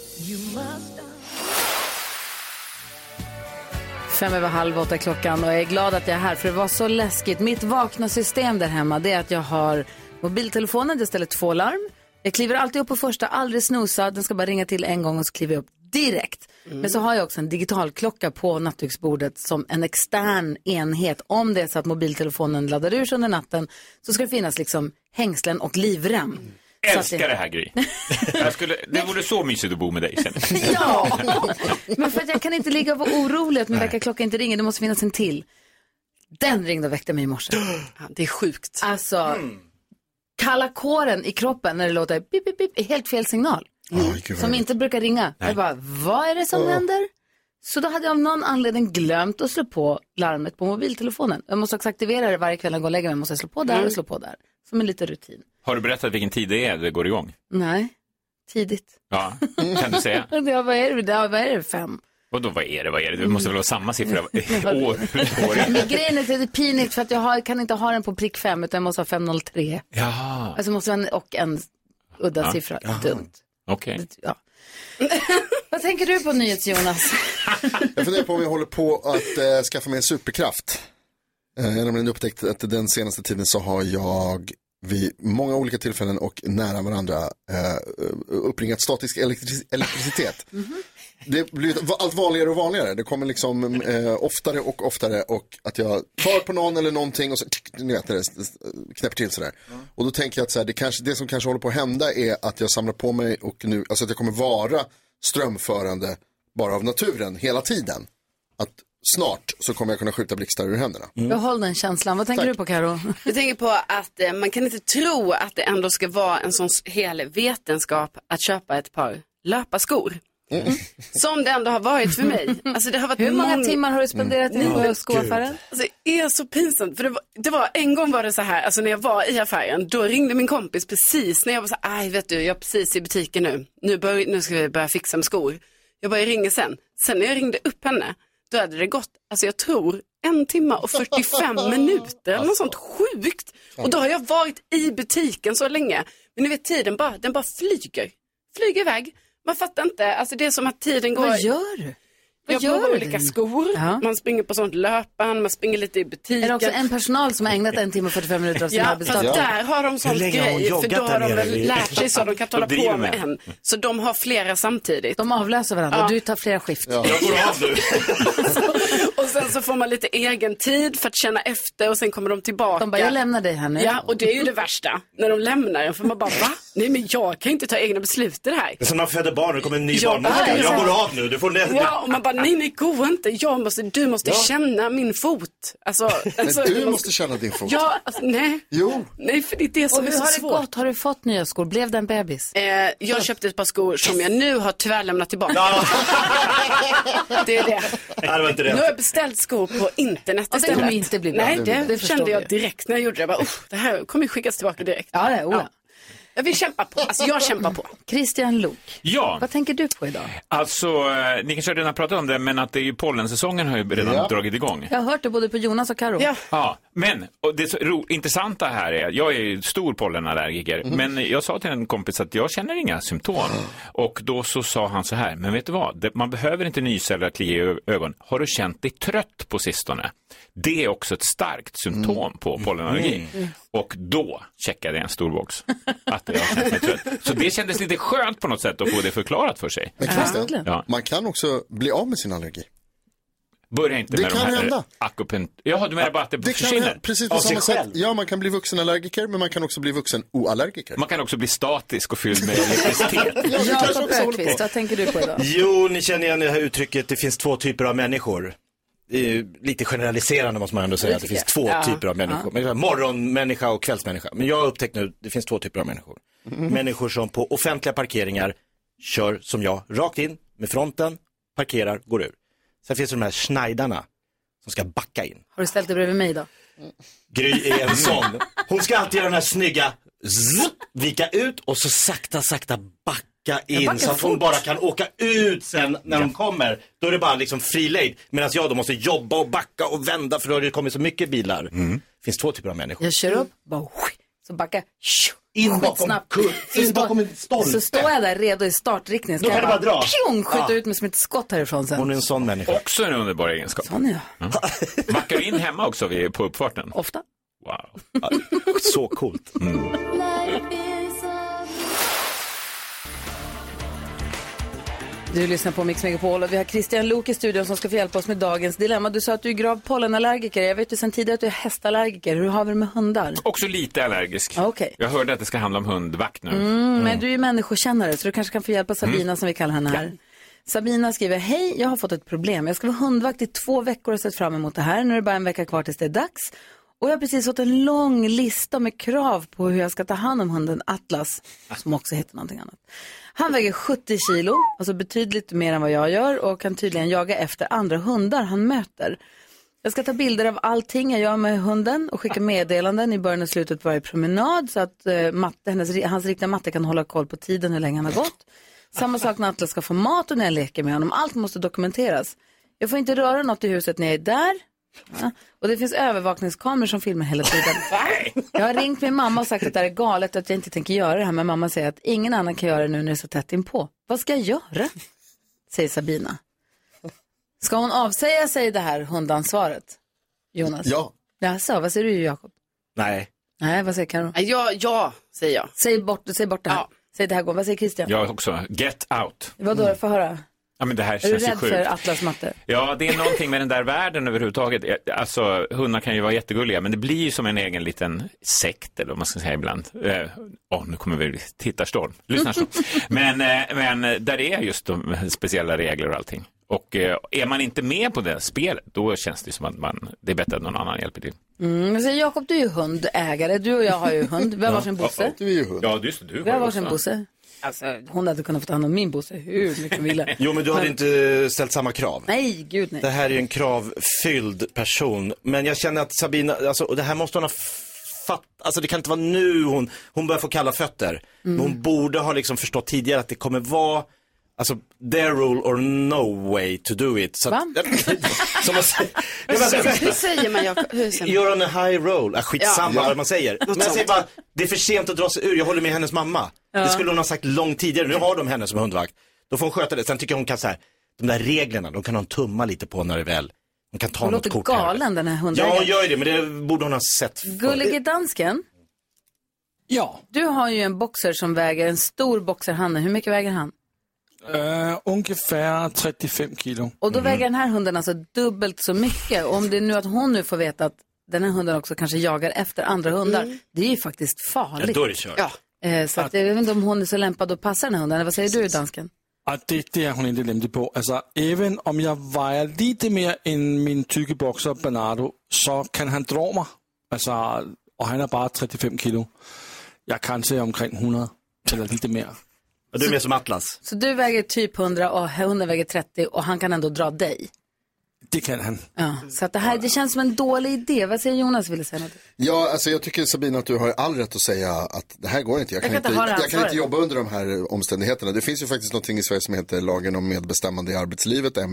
S1: Fem över halv åtta är klockan och jag är glad att jag är här för det var så läskigt. Mitt vakna system där hemma det är att jag har mobiltelefonen, det ställer två larm. Jag kliver alltid upp på första, aldrig snosa, den ska bara ringa till en gång och så kliver jag upp direkt. Men så har jag också en digital klocka på nattduksbordet som en extern enhet. Om det är så att mobiltelefonen laddar ur sig under natten så ska det finnas liksom hängslen och livrem. Så att
S8: Älskar det här Gry. Jag skulle, det vore så mysigt att bo med dig känner jag.
S1: Ja! Men för att jag kan inte ligga och vara orolig att min väckarklocka inte ringer, det måste finnas en till. Den ringde och väckte mig i morse.
S4: Ja, det är sjukt.
S1: Alltså, kalla kåren i kroppen när det låter pip, pip, pip, är helt fel signal.
S2: Oj, gud,
S1: Som
S2: vad-
S1: inte brukar ringa. Jag bara, vad är det som händer? Så då hade jag av någon anledning glömt att slå på larmet på mobiltelefonen. Jag måste också aktivera det varje kväll när jag går och lägger mig. Måste jag slå på där och slå på där. Som en liten rutin.
S8: Har du berättat vilken tid det är det går igång?
S1: Nej, tidigt.
S8: Ja, kan du säga?
S1: Ja, vad är det? Ja, vad är det? Fem?
S8: Och då, vad är det, vad är det? Det måste väl vara samma siffra år ut och år in.
S1: Men grejen är att det är pinigt för att jag har, kan inte ha den på prick fem utan jag måste ha 503.
S8: Ja,
S1: Alltså måste vara en och en udda siffra. Dumt.
S8: okej.
S1: Ja. vad tänker du på NyhetsJonas?
S2: Jag funderar på om jag håller på att eh, skaffa mig en superkraft. Eh, jag har nämligen upptäckt att den senaste tiden så har jag vid många olika tillfällen och nära varandra eh, uppringat statisk elektri- elektricitet. Det blir allt vanligare och vanligare. Det kommer liksom eh, oftare och oftare och att jag tar på någon eller någonting och så tick, ni vet, när det s- s- knäpper till sådär. Och då tänker jag att så här, det, kanske, det som kanske håller på att hända är att jag samlar på mig och nu, alltså att jag kommer vara strömförande bara av naturen hela tiden. Att snart så kommer jag kunna skjuta blixtar ur händerna.
S4: Mm.
S1: Behåll den känslan. Vad tänker du på Karo?
S4: Jag tänker på att eh, man kan inte tro att det ändå ska vara en sån hel vetenskap att köpa ett par löparskor.
S1: Mm.
S4: Som det ändå har varit för mig. Alltså det har varit
S1: Hur många
S4: mång-
S1: timmar har du spenderat i mm. skoaffären?
S4: Alltså, det är så pinsamt. För det var, det var, en gång var det så här, alltså när jag var i affären, då ringde min kompis precis när jag var så här, aj vet du, jag är precis i butiken nu, nu, bör, nu ska vi börja fixa med skor. Jag bara, jag ringer sen. Sen när jag ringde upp henne, då hade det gått, alltså jag tror, en timme och 45 minuter eller något
S1: Alltså.
S4: sånt sjukt. Och då har jag varit i butiken så länge. Men ni vet tiden bara, den bara flyger, flyger iväg. Man fattar inte, alltså det är som att tiden går.
S1: Vad gör du?
S4: Jag
S1: Vad
S4: provar
S1: gör
S4: olika
S1: du?
S4: skor,
S1: Ja.
S4: man springer på sånt löpband, man springer lite i
S1: Är det
S4: butiken.
S1: också en personal som har ägnat en timme och 45 minuter av sin
S4: Ja,
S1: arbetsdag?
S4: fast där har de sån
S3: länge har hon
S4: grej, för
S3: joggat
S4: då
S3: där
S4: har de
S3: nere
S4: väl
S3: vid-
S4: lärt sig så, de kan inte hålla
S8: De
S4: på
S8: driver
S4: med
S8: med.
S4: en. Så de har flera samtidigt.
S1: De avlöser varandra. Du tar flera skift.
S8: Jag går av nu.
S4: Och sen så får man lite egen tid för att känna efter och sen kommer de tillbaka.
S1: De bara, jag lämnar dig här nu.
S4: Ja, och det är ju det värsta, när de lämnar en, för man bara, va? Nej, men jag kan inte ta egna beslut i det här.
S3: Det är som när man föder barn, det kommer en ny
S4: Ja,
S3: barnmorska.
S4: exakt.
S3: Jag går av nu, du får nästa.
S4: Ja, och man bara, nej, nej, gå inte, jag måste, du måste känna min fot. Alltså,
S2: Men
S4: alltså,
S2: du måste känna din fot.
S4: Ja, alltså, nej.
S2: Jo,
S4: Nej, för det är det
S1: Och
S4: som är
S1: hur
S4: så
S1: har det
S4: svårt.
S1: gått? Har du fått nya skor? Blev det en bebis?
S4: Eh, jag köpte ett par skor som jag nu har tyvärr lämnat tillbaka. det är det.
S3: Nej, det var inte
S4: Nu har
S3: rätt.
S4: jag beställt skor på internet
S1: Ja, det
S4: istället.
S1: kommer inte bli bra.
S4: Nej,
S1: Det
S4: det,
S1: blir- det förstår
S4: kände jag
S1: vi.
S4: direkt när jag gjorde det. Jag bara, "Uff, det här kommer ju skickas tillbaka direkt.
S1: Ja, det är Ola.
S4: Jag vill kämpa på. Alltså jag kämpar på.
S1: Christian Lok,
S8: Ja,
S1: vad tänker du på idag?
S8: alltså eh, ni kanske redan har pratat om det, men att det är ju pollensäsongen har ju redan
S2: Ja.
S8: dragit igång.
S1: Jag har hört det både på Jonas och Karo.
S4: Ja.
S8: Ja, men och det så ro, intressanta här är, jag är ju stor pollenallergiker, men jag sa till en kompis att jag känner inga symptom. Och då så sa han så här, men vet du vad, det, man behöver inte nysa eller klia i ö- ögon. Har du känt dig trött på sistone? Det är också ett starkt symptom på pollenallergi. Och då checkade jag en stor box att jag har känt mig trött. Så det kändes lite skönt på något sätt att få det förklarat för sig.
S2: Men Christian,
S8: Ja.
S2: man kan också bli av med sin allergi.
S8: Börja inte
S2: Det
S8: med
S2: kan
S8: de här
S2: hända.
S8: akupunktur... Jaha, du menar bara att det,
S2: Det kan
S8: försvinner?
S2: hända precis
S3: Av
S2: på
S3: sig
S2: samma sätt.
S3: själv.
S2: Ja, man kan bli vuxenallergiker, men man kan också bli vuxenoallergiker.
S8: Man kan också bli statisk och fylld med elektricitet.
S2: Ja, det kanske
S1: Jakob
S2: också håller på.
S1: Ökvist, vad tänker du på idag?
S3: Jo, ni känner igen det här uttrycket, det finns två typer av människor. Det är ju Lite generaliserande måste man ändå säga att det finns två typer av människor. Men det är Morgonmänniska och kvällsmänniska. Men jag har upptäckt nu, det finns två typer av människor. Människor som på offentliga parkeringar kör som jag, rakt in med fronten, parkerar, går ur. Sen finns det de här snajdarna som ska backa in.
S1: Har du ställt dig bredvid mig idag?
S3: Mm. Gry är en sån. Hon ska alltid göra den här snygga, zzz, vika ut och så sakta, sakta backa in så att hon bara kan åka ut sen när hon kommer. Då är det bara liksom fri lejd. Medan jag då måste jobba och backa och vända för då har det kommit så mycket bilar. Det finns två typer av människor.
S1: Jag kör upp, bara, hui, så backar jag.
S3: In bakom
S1: Skitsnabbt.
S3: kull- in
S1: Så-
S3: bakom en stolpe.
S1: Så står jag där redo i startriktningen. Ska
S3: Då kan
S1: jag
S3: du bara dra.
S1: pjong, skjuta
S3: Ja.
S1: ut mig som ett skott härifrån
S3: Hon
S1: sen.
S3: är en sån människa.
S8: Också en underbar egenskap.
S1: Sån är jag.
S8: Backar du in hemma också vid, på uppfarten?
S1: Ofta.
S8: Wow.
S3: Så coolt.
S1: Du lyssnar på Mix Megapol och vi har Christian Lok i studion som ska få hjälpa oss med dagens dilemma. Du sa att du är grav pollenallergiker. Jag vet ju sedan tidigare att du är hästallergiker. Hur har vi det med hundar?
S8: Också lite allergisk.
S1: Ah, okej.
S8: Jag hörde att det ska handla om hundvakt nu.
S1: Mm, Men du är ju människokännare så du kanske kan få hjälpa Sabina som vi kallar henne här. Sabina skriver, hej, jag har fått ett problem. Jag ska vara hundvakt i två veckor och sett fram emot det här. Nu är det bara en vecka kvar tills det är dags. Och jag har precis fått en lång lista med krav på hur jag ska ta hand om hunden Atlas, som också heter någonting annat. Han väger 70 kilo, alltså betydligt mer än vad jag gör och kan tydligen jaga efter andra hundar han möter. Jag ska ta bilder av allting jag gör med hunden och skicka meddelanden i början och slutet på varje promenad så att eh, matte, hennes, hans riktiga matte kan hålla koll på tiden hur länge han har gått. Samma sak när Atlas ska få mat och när jag leker med honom. Allt måste dokumenteras. Jag får inte röra något i huset när jag är där. Ja. Och det finns övervakningskameror som filmar hela tiden. Jag har ringt min mamma och sagt att det här är galet att jag inte tänker göra det här. Men mamma säger att ingen annan kan göra det nu när det är så tätt inpå. Vad ska jag göra? Säger Sabina. Ska hon avsäga sig det här hundansvaret? Jonas?
S2: Ja,
S1: Jaså, vad säger du Jakob?
S3: Nej.
S1: Nej, vad säger Karo?
S4: Nej, Ja, ja, säger jag.
S1: Säg bort, säg bort det här.
S4: Ja.
S1: Säg det här går. Vad säger Christian?
S8: Jag också. Get out.
S1: Vadå, mm. få höra.
S8: Ja, men det här
S1: Är du
S8: känns ju
S1: rädd för
S8: sjukt.
S1: Atlas matte?
S8: Ja, det är någonting med den där världen överhuvudtaget. Alltså, hundar kan ju vara jättegulliga, men det blir ju som en egen liten sekt, eller vad man ska säga ibland. Åh, eh, åh, nu kommer vi tittarstorm, lyssnarstorm. men, eh, men där är just de speciella regler och allting. Och eh, är man inte med på det spelet, då känns det ju som att man, det är bättre att någon annan hjälper till.
S1: Mm, jag säger Jakob, du är ju hundägare. Du och jag har ju hund. Vi har varsin Bosse.
S2: du är ju hund.
S8: Ja, just det, du
S1: Vi har
S8: ju
S1: varsin
S8: också.
S1: Bosse. Alltså, hon hade kunnat få ta hand om min Bosse hur mycket hon ville.
S3: Jo, men du hade inte ställt samma krav.
S1: Nej, gud
S3: Det
S1: nej.
S3: här är ju en kravfylld person. Men jag känner att Sabina, alltså, och det här måste hon ha fattat. Alltså det kan inte vara nu hon, hon börjar få kalla fötter. Men
S4: Mm.
S3: hon borde ha liksom förstått tidigare att det kommer vara, alltså their rule or no way to do it. Så att, som man säger, jag bara,
S4: Hur säger man Jakob? Hur säger man?
S3: You're on a high roll. Ah, skitsamma
S2: Ja.
S3: vad man säger. Men jag säger bara, det är för sent att dra sig ur. Jag håller med hennes mamma. Det skulle hon ha sagt långt tidigare. Nu har de henne som hundvakt. Då får hon sköta det. Sen tycker jag hon kan så här, de där reglerna, de kan hon tumma lite på när det väl, hon kan ta
S1: Hon
S3: något
S1: låter
S3: kort
S1: galen Mm. den här
S3: här. Ja, hon
S1: hundägaren.
S3: gör ju det, men det borde hon ha sett. förr.
S1: Gullige dansken,
S5: Ja,
S1: du har ju en boxer som väger, en stor boxerhanne. Hur mycket väger han?
S5: eh, ungefär 35 kilo. Mm.
S1: Och då
S3: Mhm.
S1: väger den här hunden alltså dubbelt så mycket. Och om det är nu att hon nu får veta att den här hunden också kanske jagar efter andra hundar. Det är ju faktiskt
S3: Mm. Ja,
S1: farligt.
S3: då är det kört.
S4: Ja.
S1: Eh, så att, jag vet inte om hon är så lämpad att passa den här hunden. Vad säger du dansken?
S5: Ja, det, det är hon inte lämplig på. Alltså, även om jag väger lite mer än min tycke boxer Bernardo så kan han dra mig. Alltså, och han är bara 35 kilo. Jag kanske är omkring 100 eller lite mer.
S3: Ja, Du är mer som Atlas.
S1: Så du väger typ 100 och hunden väger 30 och han kan ändå dra dig.
S5: Det kan han.
S1: Ja, så att det här det känns som en dålig idé. Vad säger Jonas? Ville säga något?
S2: Ja, alltså jag tycker Sabina att du har all rätt att säga att det här går inte. Jag kan,
S1: Jag kan inte ha det
S2: jag kan
S1: ansvaret.
S2: inte jobba under de här omständigheterna. Det finns ju faktiskt någonting i Sverige som heter lagen om medbestämmande i arbetslivet, MBL.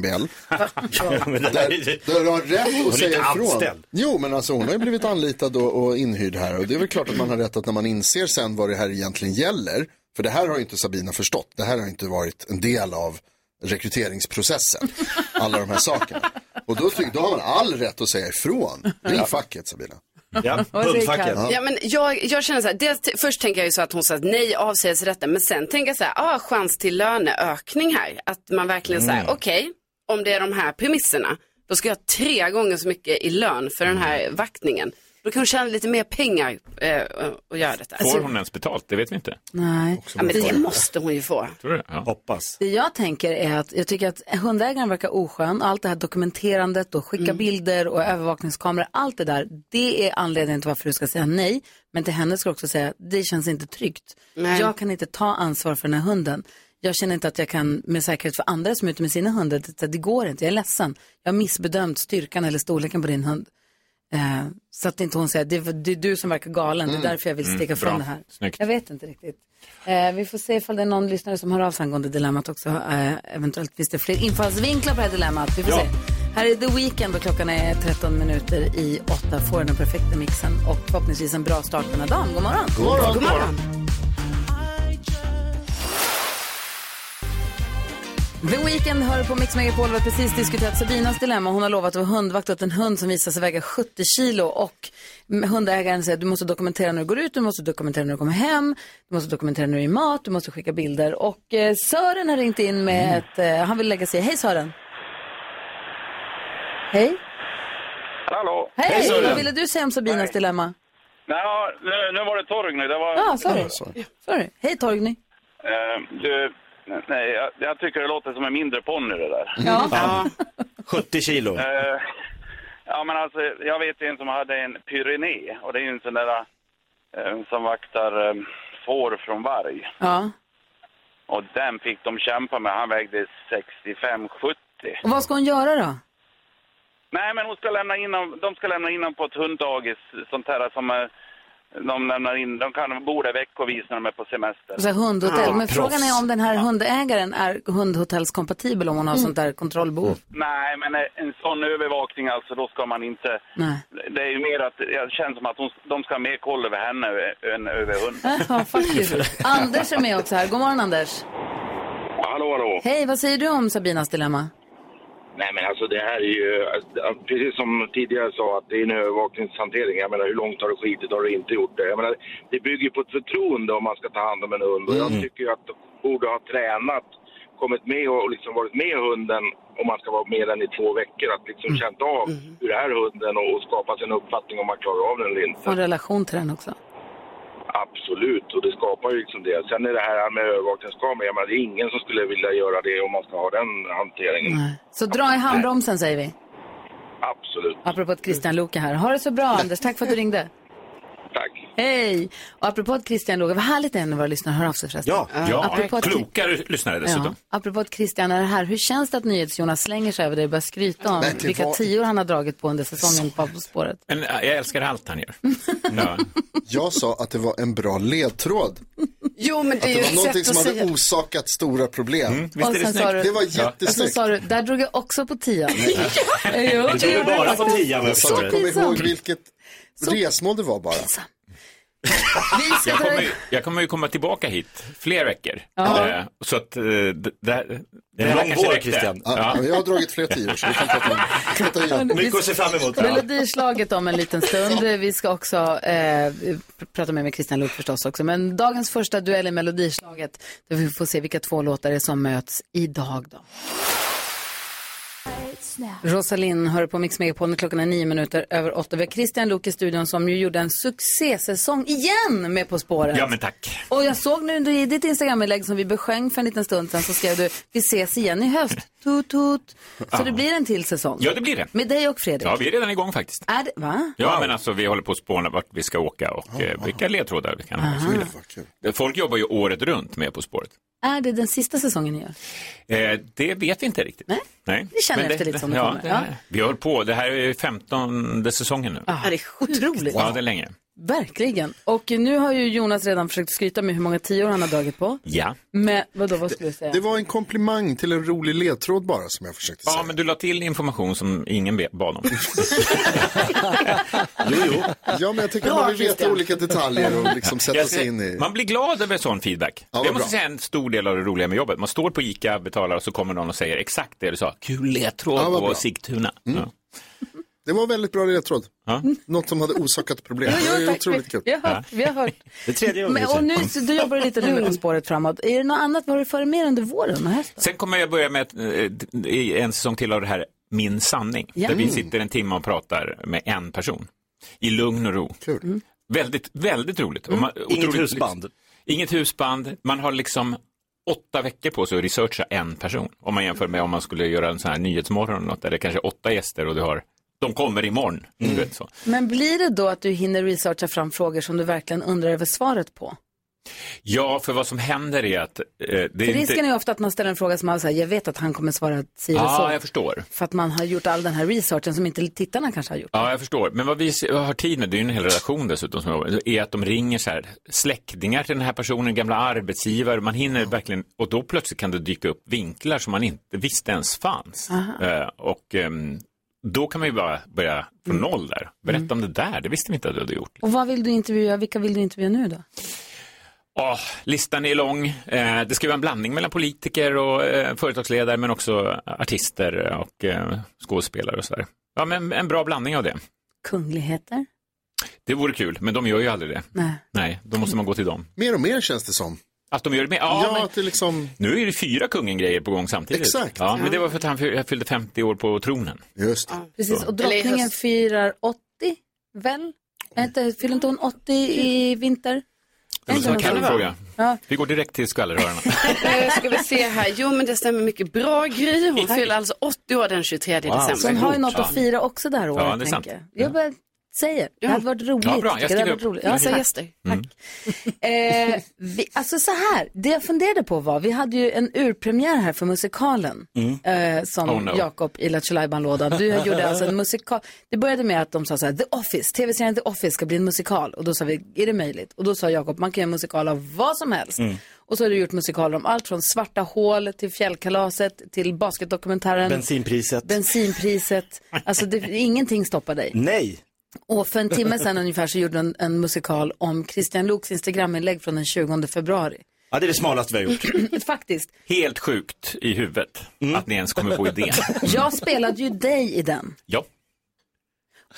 S3: Men det där är
S2: Där,
S3: ju-
S2: där du har rätt
S3: Hon
S2: att
S3: är
S2: säga ifrån.
S3: inte anställd.
S2: Jo, men alltså hon har ju blivit anlitad och, och inhyrd här. Och det är väl klart att man har rätt att när man inser sen vad det här egentligen gäller. För det här har ju inte Sabina förstått. Det här har inte varit en del av rekryteringsprocessen. Alla de här sakerna. Och då, tycker, då har man all rätt att säga ifrån. Ring facket Sabina.
S3: Ja,
S1: säger
S3: hundfacket.
S4: Ja, men jag, jag känner så här, dels, t- först tänker jag ju så att hon sa att nej, avsägelserätten, men sen tänker jag så här, ah, chans till löneökning här. Att man verkligen säger, okej, om det är de här premisserna, då ska jag ha tre gånger så mycket i lön för den här vaktningen. Då kan hon tjäna lite mer pengar eh, och- och göra detta.
S8: Får
S4: Alltså,
S8: hon ens betalt? Det vet vi inte.
S1: Nej.
S4: ja, men det måste hon ju få.
S8: Tror du? Ja.
S3: Hoppas.
S1: Det jag tänker är att jag tycker att hundägaren verkar oskön. Allt det här dokumenterandet och skicka bilder och övervakningskameror, allt det där. Det är anledningen till varför du ska säga nej. Men till henne ska du också säga, det känns inte tryggt.
S4: Nej.
S1: Jag kan inte ta ansvar för den här hunden. Jag känner inte att jag kan med säkerhet för andra som är ute med sina hundar. Det, det går inte, jag är ledsen. Jag har missbedömt styrkan eller storleken på din hund. Eh, så att inte hon säger, det, det är du som verkar galen,
S4: Mm.
S1: det är därför jag vill sticka från det här.
S8: Snyggt.
S1: Jag vet inte riktigt. Eh, vi får se ifall det är någon lyssnare som hör av sig angående dilemmat också. Eh, eventuellt finns det fler infallsvinklar på det här dilemmat. Vi får
S3: Ja.
S1: se. Här är The Weeknd och klockan är 13 minuter i 8. Får den perfekta mixen och förhoppningsvis en bra start på den här dagen. God morgon! God morgon! God morgon. The Weeknd hör på Mix Megapol. Vi har precis diskuterat Sabinas dilemma. Hon har lovat att vara hundvakt åt en hund som visar sig väga 70 kilo. Och hundägaren säger att du måste dokumentera när du går ut, du måste dokumentera när du kommer hem, du måste dokumentera när du är i mat, du måste skicka bilder. Och eh, Sören har ringt in med ett... Eh, han vill lägga sig i. Hej Sören! Hej!
S7: Hallå?
S1: Hej!
S3: Hej, Sören.
S1: Vad ville du säga om Sabinas dilemma?
S7: Nej, nu, nu var det Torgny. Det var...
S1: Ja, ah, sorry. sorry. Hej Torgny!
S7: Eh, du, nej, jag, jag tycker det låter som en mindre ponny det där.
S1: Ja.
S3: Ja. 70 kilo.
S7: Eh, ja, men alltså, jag vet en som hade en pyrené och det är ju en sån där eh, som vaktar eh, får från varg.
S1: ja.
S7: Och den fick de kämpa med. Han vägde 65-70.
S1: Och vad ska hon göra då?
S7: Nej, men hon ska lämna in dem, de ska lämna in dem på ett hunddagis, sånt här som eh, de lämnar in. De kan bo där veckovis när de är på semester.
S1: Så här, hundhotell. Men
S3: proffs.
S1: frågan är om den här hundägaren är hundhotellskompatibel om hon har sånt där kontrollbehov.
S7: Nej, men eh, en sån övervakning alltså, då ska man inte...
S1: Nej.
S7: Det är ju mer att, jag känner som att hon, de ska ha mer koll över henne ö- än över hunden.
S1: Ja, faktiskt. Anders är med också här. God morgon Anders.
S7: Hallå, hallå.
S1: Hej, vad säger du om Sabinas dilemma?
S9: Nej men alltså det här är ju, alltså, precis som tidigare sa, att det är en övervakningshantering. Jag menar hur långt har du skitit, har du inte gjort det? Jag menar, det bygger på ett förtroende om man ska ta hand om en hund. Och
S1: Mm.
S9: jag tycker ju att de borde ha tränat, kommit med och liksom varit med hunden om man ska vara med den i två veckor. Att liksom
S1: Mm.
S9: känt av hur är hunden och, och skapat en uppfattning om man klarar av den eller inte.
S1: Få en relation till den också.
S9: Absolut, och det skapar ju liksom det. Sen är det här med övervakningskameror, jag menar det är ingen som skulle vilja göra det om man ska ha den hanteringen.
S1: Nej. Så dra i handbromsen säger vi.
S9: Absolut,
S1: Apropå att Christian Luka här. Ha det så bra Anders. Tack för att du ringde.
S9: tack.
S1: Hej! Och apropå att Christian Luka, vad härligt det är när våra lyssnare hör av sig förresten.
S3: Ja,
S8: Ja,
S1: Apropå att-
S8: kloka lyssnare dessutom.
S1: Ja. Apropå att Christian är här, hur känns det att NyhetsJonas slänger sig över dig och börjar skryta om
S2: Nej, det
S1: vilka
S2: var-
S1: tior han har dragit på under säsongen på På spåret?
S8: Men, äh, jag älskar allt han gör. Ja.
S2: Jag sa att det var en bra ledtråd.
S4: Jo, men det
S2: Att
S4: är
S2: det
S4: ju
S2: var
S4: ett
S2: någonting
S4: sätt
S2: som
S4: att
S2: hade
S4: säga.
S2: orsakat stora problem.
S8: Mm, Visst
S1: Och
S8: är det
S1: sen sa du-
S8: snyggt?
S2: Det var
S1: Och så
S2: jättesnyggt.
S1: sa du, där drog jag också på tian. jo,
S3: Du är bara på 10 men jag
S2: Så
S3: förstår
S2: jag
S3: det.
S2: kommer
S1: Pinsamt.
S2: ihåg vilket resmål det var bara.
S1: Vi
S8: Jag
S1: ska dra
S8: kommer, ju- jag kommer ju komma tillbaka hit fler veckor. Eh, Så att eh, det, det, det,
S3: är en
S8: här
S3: lång
S8: kanske
S3: vår,
S8: räckte.
S3: Christian.
S2: Ja.
S8: Ja.
S2: Jag har dragit fler tior så vi kan prata om, prata igen.
S3: Mycket att se fram emot.
S1: Melodislaget om en liten stund. Vi ska också eh, pr- prata med, med Christian Luuk förstås också. Men dagens första duell i Melodislaget. Där vi får se vilka två låtar det är som möts idag då. Rosalind hör på Mix Megapol när klockan är nio minuter över åtta. Vi har Christian Luuk i studion som ju gjorde en succésäsong igen med På spåret.
S8: ja, men tack.
S1: Och jag såg nu i ditt Instagram-inlägg som vi besjöng för en liten stund sedan så skrev du vi ses igen i höst. Tut, tut. Så det blir en till säsong.
S8: Ja, det blir det.
S1: Med dig och Fredrik.
S8: Ja, vi är redan igång faktiskt.
S1: Är det, va?
S8: Ja, men alltså vi håller på att spåna vart vi ska åka och eh, vilka ledtrådar vi kan ha. och så vidare.
S2: Vad kul.
S8: Folk jobbar ju året runt med På spåret.
S1: Är det den sista säsongen ni gör?
S8: Eh, det vet vi inte riktigt.
S1: Nej.
S8: Nej.
S1: Vi känner
S8: Men
S1: efter lite som det
S8: ja,
S1: kommer. Ja.
S8: Vi håller på. Det här är femtonde säsongen nu.
S1: Ja, det är otroligt.
S8: Ja, det är länge.
S1: Verkligen. Och nu har ju Jonas redan försökt skryta med hur många tior han har dragit på.
S8: Ja.
S1: Men vadå, vad skulle du säga?
S2: Det var en komplimang till en rolig ledtråd bara som jag försökte säga.
S8: Ja, men du la till information som ingen be- bad om.
S2: Jo, jo. Ja, men jag tycker
S1: Bra,
S2: man vill veta
S1: Christian.
S2: olika detaljer och liksom sätta
S8: Jag
S2: sig
S8: ser-
S2: in i.
S8: Man blir glad över sån feedback.
S2: Ja, vad
S8: det måste
S2: bra.
S8: säga en stor del av det roliga med jobbet. Man står på ICA, betalar och så kommer någon och säger exakt det du sa. Kul ledtråd
S2: Ja, vad
S8: på
S2: bra. Mm.
S8: Sigtuna. Ja.
S2: Det var en väldigt bra ledtråd.
S8: Ja.
S2: Något som hade orsakat problem. Det är
S1: tack.
S2: otroligt kul.
S1: Vi har hört. Vi har hört.
S3: Det tredje
S1: Men, och nu, så du jobbar lite nu med På spåret framåt. Är det något annat? Vad har du för mer under våren och hösten?
S8: Sen kommer jag börja med ett, eh, i en säsong till av det här Min sanning.
S1: Ja. Mm.
S8: Där vi sitter en timme och pratar med en person. I lugn och ro.
S2: Kul.
S1: Mm.
S8: Väldigt, väldigt roligt. Och man-
S3: Inget
S8: otroligt-
S3: husband.
S8: Inget husband. Man har liksom åtta veckor på sig att researcha en person. Om man jämför med om man skulle göra en sån här nyhetsmorgon eller något, där det är kanske åtta gäster och du har, de kommer imorgon.
S3: Mm.
S8: Du vet, så.
S1: Men blir det då att du hinner researcha fram frågor som du verkligen undrar över svaret på?
S8: Ja, för vad som händer är att... Eh, det är
S1: För risken
S8: inte...
S1: är ju ofta att man ställer en fråga som man säger, jag vet att han kommer svara si eller
S8: Ja,
S1: så.
S8: jag förstår.
S1: För att man har gjort all den här researchen som inte tittarna kanske har gjort.
S8: Ja, jag förstår. Men vad vi s- har tid med, det är ju en hel redaktion dessutom som jobbar, är att de ringer så här, släktingar till den här personen, gamla arbetsgivare, man hinner verkligen, och då plötsligt kan det dyka upp vinklar som man inte visste ens fanns. Eh, och ehm, då kan man ju bara börja från noll där. Berätta om det där, det visste vi inte att du hade gjort.
S1: Och vad vill du intervjua? Vilka vill du intervjua nu då?
S8: Ja, listan är lång. Eh, det ska vara en blandning mellan politiker och eh, företagsledare, men också artister och eh, skådespelare och sådär. Ja, men en bra blandning av det.
S1: Kungligheter?
S8: Det vore kul, men de gör ju aldrig det.
S1: Nej.
S8: Nej, då måste man gå till dem.
S2: Mer och mer känns det som.
S8: Att de gör det med? Ja,
S2: Ja,
S8: men
S2: att det liksom...
S8: nu är det fyra kungen-grejer på gång samtidigt.
S2: Exakt.
S8: Ja, men det var för att han fy- fyllde 50 år på tronen.
S2: Just det.
S1: Precis, och
S4: Eller i
S1: drottningen
S4: höst.
S1: firar 80, väl? Är inte, fyller inte hon 80 i vinter?
S8: Det var
S1: Inte
S8: som en
S1: någon sån-
S8: kallfråga.
S1: Ja.
S8: Vi går direkt till skvallerhörarna.
S4: Nu ska vi se här. Jo, men det stämmer mycket bra, Gry. Hon fyller alltså 80 år den 23
S1: Så hon
S4: december.
S1: har ju något att fira också det här året,
S8: Ja, det är sant.
S1: tänker jag. Jag bara säger, det hade varit roligt.
S8: Ja, bra. Jag
S1: tycker
S8: skriver
S1: det hade varit
S8: upp. Mm.
S1: roligt. Ja,
S4: Massa
S1: tack.
S4: gäster.
S1: Eh, vi, alltså så här, det jag funderade på var, vi hade ju en urpremiär här för musikalen eh, som
S8: Oh, no.
S1: Jakob i Lattjo Lajban-lådan. Du gjorde alltså en musikal. Det började med att de sa så här, The Office, tv-serien The Office ska bli en musikal. Och då sa vi, är det möjligt? Och då sa Jakob, man kan göra en musikal av vad som helst. Och så har du gjort musikaler om allt från Svarta hål till Fjällkalaset till basketdokumentären.
S3: Bensinpriset.
S1: Bensinpriset, alltså det, ingenting stoppar dig.
S3: Nej.
S1: Och för en timme sedan ungefär så gjorde en, en musikal om Christian Loks Instagraminlägg från den 20 februari.
S3: Ja, det är det smalaste vi har gjort. Mm.
S1: Faktiskt,
S8: Helt sjukt i huvudet att ni ens kommer på idén.
S1: jag spelade ju dig i den.
S8: Ja,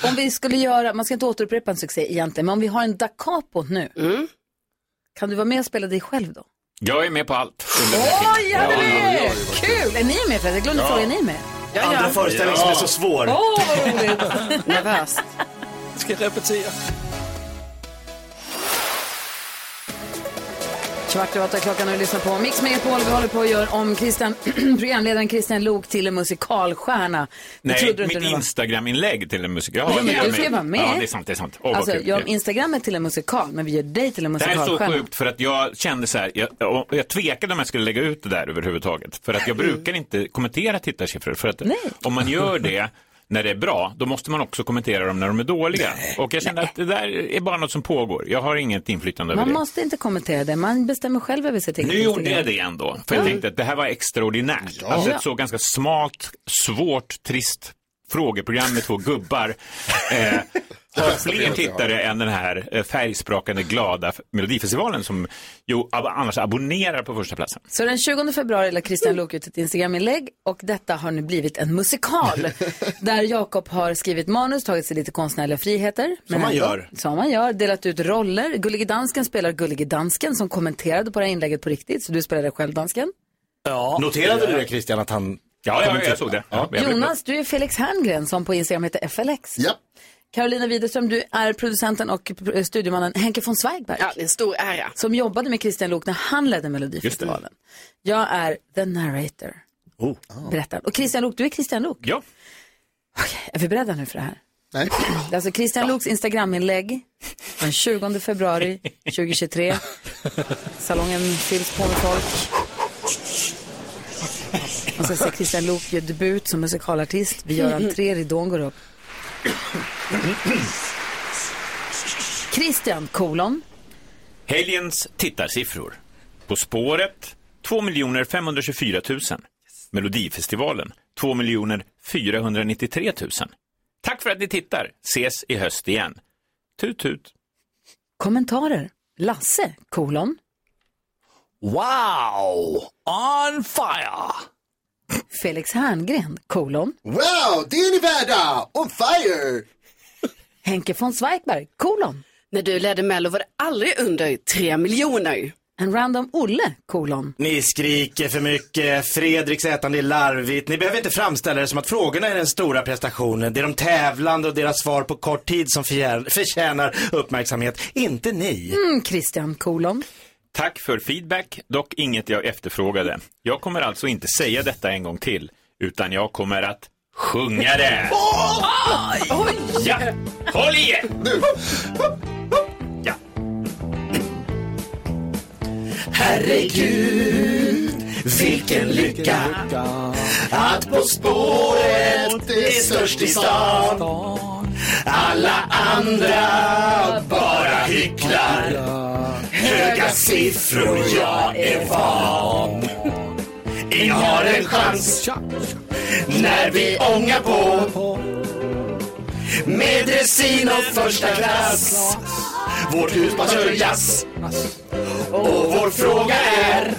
S1: Om vi skulle göra, man ska inte återupprepa en succé egentligen, men om vi har en da capo nu, kan du vara med och spela dig själv då?
S8: jag är med på allt.
S1: Oj, ja, det är Kul! Är ni med förresten? Jag glömde fråga, är ni med?
S3: Andra föreställningen som är så svår.
S1: Åh, vad roligt!
S4: Nervöst.
S5: Ska repetera.
S1: Kvart över åtta klockan och du lyssnar på Mix Megapol. Vi håller på att göra om Christian, programledaren Christian Lok till en musikalstjärna. Det
S8: Nej,
S1: trodde du inte
S8: mitt
S1: det var.
S8: Instagram-inlägg till en musiker. Ja,
S1: Nej, men
S8: det gör
S1: du ska
S8: mig.
S1: vara med.
S8: Ja, det är sant, det är sant. Åh, vad
S1: Alltså,
S8: kul.
S1: gör om Instagrammet till en musikal, men vi gör dig till en
S8: Det här är så
S1: musikalstjärna.
S8: sjukt för att jag kände så här, jag, och jag tvekade om jag skulle lägga ut det där överhuvudtaget. För att jag brukar inte kommentera tittarsiffror. För att om man gör det när det är bra, då måste man också kommentera dem när de är dåliga. Och jag kände att det där är bara något som pågår. Jag har inget inflytande över
S1: Man
S8: det.
S1: måste inte kommentera det, man bestämmer själv över sitt eget
S8: Nu gjorde jag
S1: Instagram.
S8: det ändå, för jag tänkte att det här var extraordinärt. Alltså ett så ganska smalt, svårt, trist frågeprogram med två gubbar. Eh, har fler tittare än den här eh, färgsprakande glada f- Melodifestivalen som ju ab- annars abonnerar på första platsen.
S1: Så den 20 februari la Christian Lok ut ett Instagraminlägg och detta har nu blivit en musikal. där Jakob har skrivit manus, tagit sig lite konstnärliga friheter. men
S3: man
S1: ändå-
S3: gör.
S1: Som man gör, delat ut roller. Gullige Dansken spelar Gullige Dansken som kommenterade på det här inlägget på riktigt, så du spelade själv dansken.
S3: Noterade du det Christian, att han...
S8: Ja, ja, jag såg det. Ja, jag blev-
S1: Jonas, du är Felix Herngren som på Instagram heter FLX.
S2: Ja.
S1: Carolina Widerström, du är producenten och eh, studiomannen Henke von Zweigbergk.
S4: Ja, det är en stor ära.
S1: Som jobbade med Christian Lok när han ledde Melodifestivalen. Jag är the narrator.
S3: Oh.
S1: Berättar. Och Christian Lok, du är Christian Lok.
S8: Ja,
S1: Okej, är vi beredda nu för det här?
S2: Nej.
S1: Det är alltså Christian Loks Instagraminlägg den 20 februari 2023. Salongen fylls på med folk. ska se Christian Lok gör debut som musikalartist. Vi gör entré, ridån går upp. Christian, kolon.
S8: Helgens tittarsiffror. På spåret 2 524 000. Melodifestivalen 2 493 000. Tack för att ni tittar. Ses i höst igen. Tut tut.
S1: Kommentarer. Lasse, kolon.
S5: Wow! On fire!
S1: Felix Herngren, kolon.
S2: Wow, det är ni värda! On fire!
S1: Henke von Zweigbergk, kolon.
S4: När du ledde Mello var det aldrig under tre miljoner.
S1: En random Olle, kolon.
S3: Ni skriker för mycket, Fredriks ätande är larvigt. Ni behöver inte framställa det som att frågorna är den stora prestationen. Det är de tävlande och deras svar på kort tid som förjär- förtjänar uppmärksamhet. Inte ni.
S1: Mm, Christian, kolon.
S8: Tack för feedback, dock inget jag efterfrågade. Jag kommer alltså inte säga detta en gång till, utan jag kommer att sjunga det. Ja, håll i er!
S3: Vilken lycka att På spåret är störst i stan. Alla andra bara hycklar. Höga siffror, jag är van. Vi har en chans när vi ångar på. Med dressin och första klass. Vårt hus på Sörjas. Och vår fråga är.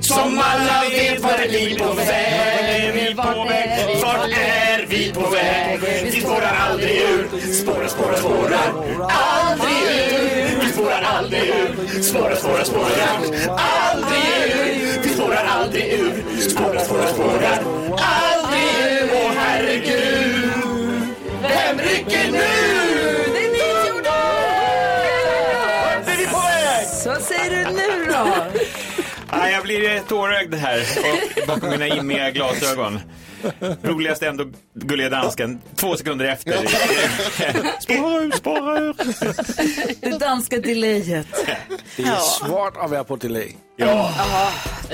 S3: Som alla vet var är vi på väg? Vi på väg. Vart är vi på väg? Vi spårar aldrig ur. Spårar, spårar, spårar. Aldrig ur. Vi spårar aldrig ur. Spårar, spårar, spårar. Aldrig ur. Vi spårar aldrig ur. Spårar, spårar, spårar. Aldrig ur. Åh herregud. Vem rycker nu?
S1: Det är ni
S3: Vart är vi på väg?
S1: Vad säger du nu då?
S8: Ah, jag blir eh, tårögd här och bakom mina immiga glasögon. Roligast ändå gulliga dansken, två sekunder efter. Spara ur, spara ur.
S1: Det danska delayet.
S5: Det är svårt att vara på delay.
S1: Det,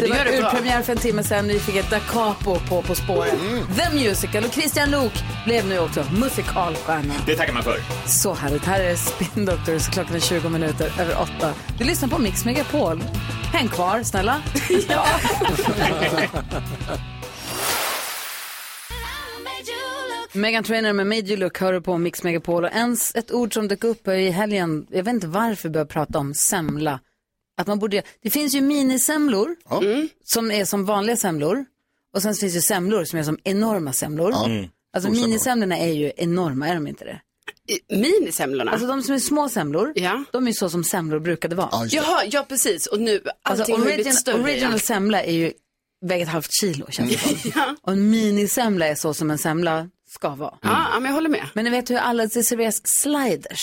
S1: var urpremiär för en timme sedan. Vi fick ett da capo på På spåret.
S8: Mm.
S1: The Musical. Och Christian Lok blev nu också musikalstjärna.
S8: Det tackar man för.
S1: Så härligt. Här är Spin Doctors. Klockan är 20 minuter över åtta. Du lyssnar på Mix Megapol. Häng kvar, snälla. ja. Megan Trainor med Made You Look hör du på Mix Megapol. Och ens ett ord som dök upp i helgen, jag vet inte varför vi började prata om semla. Att man borde, det finns ju minisemlor som är som vanliga semlor. Och sen finns det semlor som är som enorma semlor.
S3: Mm.
S2: Mm.
S1: Alltså
S2: Storsemlor.
S1: minisemlorna är ju enorma, är de inte det?
S4: I- Minisemlorna?
S1: Alltså de som är små semlor,
S4: Ja.
S1: de är ju så som semlor brukade vara.
S2: Ja, just det.
S4: Jaha, ja precis. Och nu,
S1: Alltså
S4: allting har ju
S1: origin,
S4: blivit större.
S1: original
S4: igen.
S1: semla är ju, väger ett halvt kilo känns det som. Och en minisemla är så som en semla ska vara.
S2: Mm.
S4: Ja, ja, men jag håller med.
S1: Men ni vet hur alla, det serveras sliders.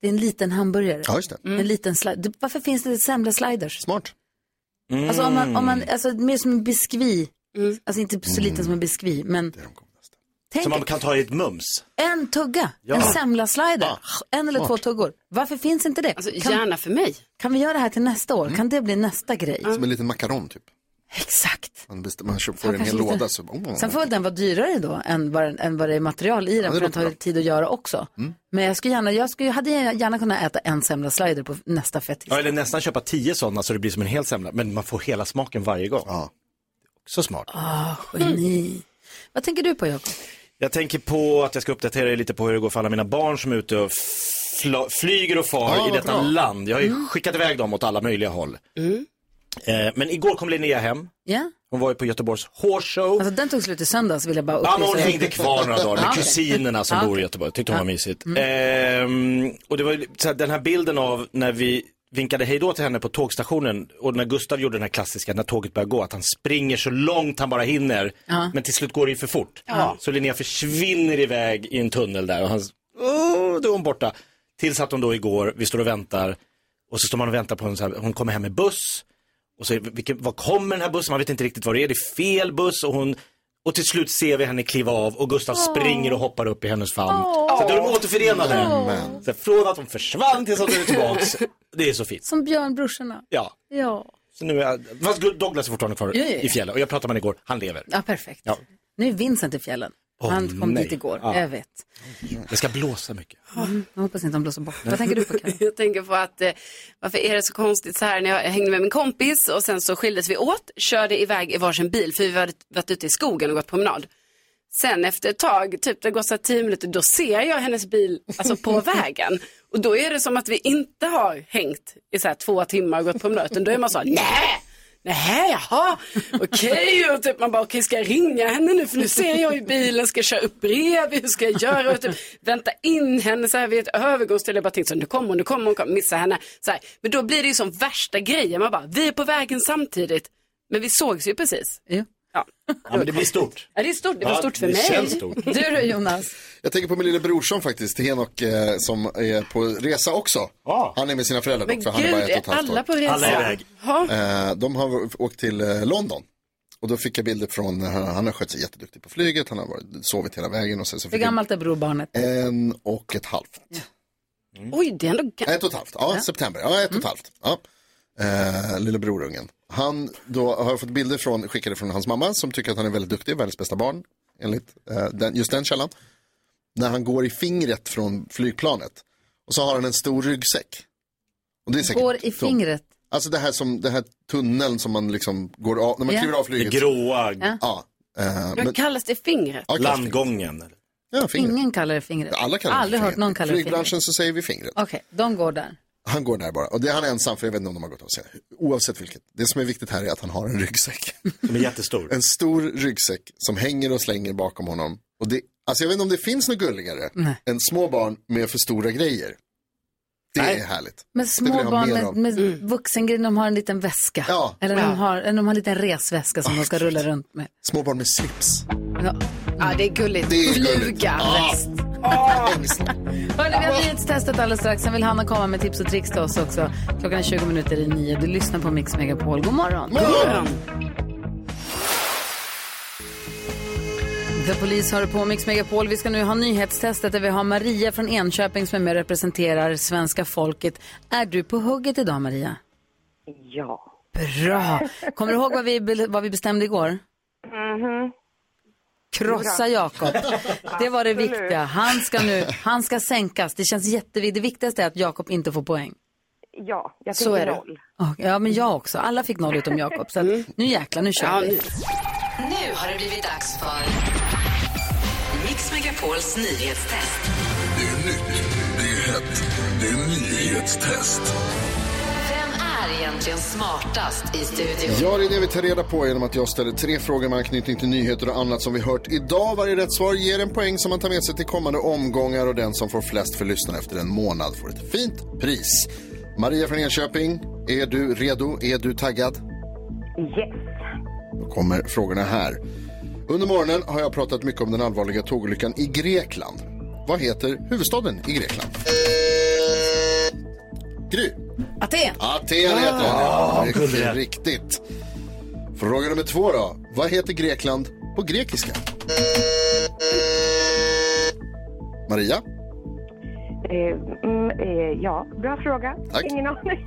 S1: Det är en liten hamburgare.
S2: Ja, just det.
S4: Mm.
S1: En liten slide. Varför finns det semla-sliders?
S2: Smart. Mm.
S1: Alltså om man, om man, alltså mer som en biskvi.
S4: Mm.
S1: Alltså inte så liten som en biskvi, men. Tänk,
S3: Som man kan ta i ett mums.
S1: en tugga, en semla-slider, en eller två tuggor. Varför finns inte det?
S4: Ah, Alltså,
S1: kan,
S4: gärna för mig.
S1: kan vi göra det här till nästa år? Kan det bli nästa grej?
S2: Som en liten makaron typ.
S1: Exakt.
S2: Man, bestäm- man köper, får en
S1: kanske
S2: hel
S1: lite-
S2: låda. Så, oh.
S4: Mm.
S1: Sen får väl den vara dyrare då än vad, den- än vad det är material i den, för den
S2: låter
S1: tar ju
S2: bra.
S1: tid att göra också.
S4: Mm.
S1: Men jag, skulle gärna, jag skulle, hade gärna kunnat äta en semla-slider på nästa fettis.
S3: Ja, eller nästan köpa tio sådana så det blir som en hel semla. Men man får hela smaken varje gång.
S2: Ja.
S3: Så smart.
S1: Geni. Vad tänker du på Jakob?
S3: Jag tänker på att jag ska uppdatera er lite på hur det går för alla mina barn som är ute och fla- flyger och far i detta land. Jag har ju skickat iväg dem åt alla möjliga håll.
S4: Mm.
S3: Eh, men igår kom Linnea hem.
S1: Ja?
S3: Hon var ju på Göteborgs Horse Show.
S1: Alltså den tog slut i söndags vill jag bara
S3: Ja,
S1: upplysa.
S3: men hon
S1: er.
S3: hängde kvar några dagar
S1: Ja,
S3: med
S1: okej.
S3: kusinerna som
S1: Ja, Mm.
S3: bor i
S1: okej.
S3: Göteborg. Tyckte hon var mysigt. Ehm, och det var ju så här, den här bilden av när vi vinkade hej då till henne på tågstationen och när Gustav gjorde den här klassiska när tåget börjar gå, att han springer så långt han bara hinner. Men till slut går det ju för fort. Så Linnea försvinner iväg i en tunnel där och han, oh, då är hon borta. Tills att hon då igår, vi står och väntar och så står man och väntar på hon, så här, hon kommer hem med buss. Och så, är- vilken, vad kommer den här bussen? Man vet inte riktigt vad det är. Det är fel buss och hon... Och till slut ser vi henne kliva av och Gustav springer och hoppar upp i hennes famn. Så att de är återförenade. Så här, från att de försvann tills att de är tillbaks. Det är så fint.
S1: Som björnbrorsorna.
S3: Ja.
S1: Ja.
S3: Så nu är jag, fast Douglas är fortfarande kvar
S1: Ja, ja, ja.
S3: i fjällen och jag pratade med honom igår, han lever.
S1: Ja, perfekt.
S3: Ja.
S1: Nu är Vincent i fjällen.
S3: Åh,
S1: han kom
S3: nej.
S1: dit igår,
S3: Ja.
S1: jag vet.
S3: Det ska blåsa mycket.
S1: Mm. Jag hoppas inte han blåser bort. Vad tänker du på Karin?
S4: Jag tänker på att eh, varför är det så konstigt så här när jag hängde med min kompis och sen så skildes vi åt, körde iväg i varsin bil för vi hade varit ute i skogen och gått promenad. Sen efter ett tag, typ det har gått så här tio minuter, då ser jag hennes bil alltså, på vägen. Och då är det som att vi inte har hängt i så här två timmar och gått promenad, utan då är man så här, nej! Nej, jaha, okej. Och typ man bara, okej, ska jag ringa henne nu? För nu ser jag ju bilen, ska jag köra upp bredvid? Hur ska jag göra? Och typ vänta in henne så här vid ett övergångsställe. Jag bara tänkte så, nu kommer hon, nu kommer hon, kommer. missa henne. Så här. Men då blir det ju som värsta grejen. Man bara, vi är på vägen samtidigt. Men vi sågs ju precis.
S1: Jo.
S4: Ja,
S3: Ja, men det blir stort.
S4: ja det är stort. Det var
S3: Ja,
S4: stort för
S3: det
S4: mig.
S3: känns stort.
S1: Du då Jonas?
S2: Jag tänker på min lille brorson faktiskt, Henok, eh, som är på resa också.
S3: Ja.
S2: Han är med sina föräldrar
S4: Men
S2: också, han är
S4: gud,
S2: bara ett
S4: är
S2: och ett halvt
S4: alla
S2: år.
S4: på resa?
S3: Alla Ah. är iväg.
S4: Ja.
S2: Eh, de har åkt till eh, London. Och då fick jag bilder från, eh, han har skött sig jätteduktig på flyget, han har varit, sovit hela vägen och sen så
S1: Hur
S2: fick jag
S1: gammalt är brorbarnet?
S2: en och ett halvt.
S4: Oj, det är ändå ga-
S2: Ett och ett halvt, Mm. ja, september, ja
S1: Mm.
S2: ett och ett halvt. Ja. Eh, lille brorungen. Han då har jag fått bilder från, skickade från hans mamma som tycker att han är väldigt duktig, världens bästa barn, enligt eh, den, just den källan. När han går i fingret från flygplanet och så har han en stor ryggsäck. Och det är säkert
S1: Går i
S2: tungt.
S1: fingret.
S2: Alltså det här som, den här tunneln som man liksom går av, när man
S1: Ja.
S2: kliver av
S3: Det
S2: flyget.
S3: gråa,
S2: Ja. eh, men,
S4: Vad kallas det fingret?
S2: ja, kanske fingret.
S3: landgången.
S2: Ja, fingret.
S1: Ingen kallar det fingret.
S2: Alla kallar det
S1: Aldrig
S2: för
S1: hört någon
S2: fingret.
S1: kalla det fingret.
S2: Flygbranschen så säger vi fingret.
S1: Okej, de går där.
S2: Han går där bara. Och det är han ensam för jag vet inte om de har gått av sig. Oavsett vilket. Det som är viktigt här är att han har en ryggsäck.
S3: Som är jättestor.
S2: En stor ryggsäck som hänger och slänger bakom honom. Och det, alltså jag vet inte om det finns något gulligare
S1: Nej.
S2: än små barn med för stora grejer. Det
S3: Nej.
S2: är härligt.
S1: Men
S2: vill jag
S1: små
S2: ha
S1: barn
S2: mer
S1: med,
S2: av. Mm.
S1: med vuxengrejer, de har en liten väska.
S2: Ja.
S1: Eller de har, eller de har en liten resväska som de ska rulla runt med.
S2: Små barn med slips.
S1: Ja.
S4: Ja, det är gulligt.
S2: Det är gulligt.
S4: Fluga.
S1: Hörrni, vi har nyhetstestet alldeles strax. Sen vill Hanna komma med tips och tricks till oss också. Klockan är 20 minuter i nio. Du lyssnar på Mix Megapol. God morgon. The Police hör på Mix Megapol. Vi ska nu ha nyhetstestet där vi har Maria från Enköping som är med och representerar svenska folket. Är du på hugget idag Maria?
S10: Ja.
S1: Bra! Kommer du ihåg vad vi, be- vad vi bestämde igår? Krossa Jakob. Det var det viktiga. Han ska nu, han ska sänkas. Det känns jätteviktigt. Det viktigaste är att Jakob inte får poäng.
S10: Ja, jag
S4: Så
S10: tänker
S4: är det.
S10: noll.
S1: Åh, Ja, men jag också. Alla fick noll utom Jakob. Så att, nu jäklar, nu kör
S4: Ja,
S1: vi.
S6: Nu har det blivit dags för Mix Megapols nyhetstest. Det är nytt, det är hett, det är nyhetstest. Vem är egentligen smartast i studion?
S2: Ja, det är det vi tar reda på genom att jag ställer tre frågor med anknytning till nyheter och annat som vi hört idag. Varje rätt svar ger en poäng som man tar med sig till kommande omgångar och den som får flest för lyssnarna efter en månad får ett fint pris. Maria från Enköping, är du redo? Är du taggad?
S10: Yes.
S2: Då kommer frågorna här. Under morgonen har jag pratat mycket om den allvarliga tågolyckan i Grekland. Vad heter huvudstaden i Grekland? Gry.
S1: Aten!
S2: Aten heter den. Mycket riktigt. Fråga nummer två då. Vad heter Grekland på grekiska? Maria?
S10: Eh, mm, eh, ja, bra fråga.
S2: Tack.
S10: Ingen aning.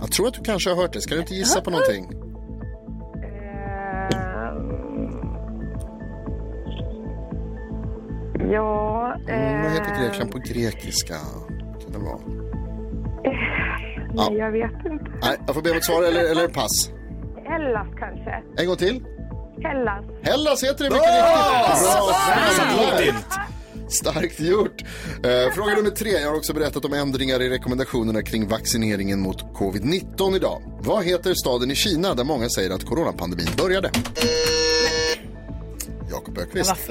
S2: Jag tror att du kanske har hört det. Ska du inte gissa på någonting?
S10: Eh, ja,
S2: Mm, vad heter
S10: eh,
S2: Grekland på grekiska? Kan det vara?
S10: nej, eh, jag vet inte.
S2: Nej, jag får be om ett svar eller, eller pass.
S10: Hellas kanske.
S2: En gång till.
S10: Hellas.
S2: Hellas heter det mycket riktigt. Bra
S3: Långt
S2: jobbat!
S3: in.
S2: Starkt gjort. Eh, fråga nummer tre. Jag har också berättat om ändringar i rekommendationerna kring vaccineringen mot covid-19 idag. Vad heter staden i Kina där många säger att coronapandemin började? Jakob Öqvist.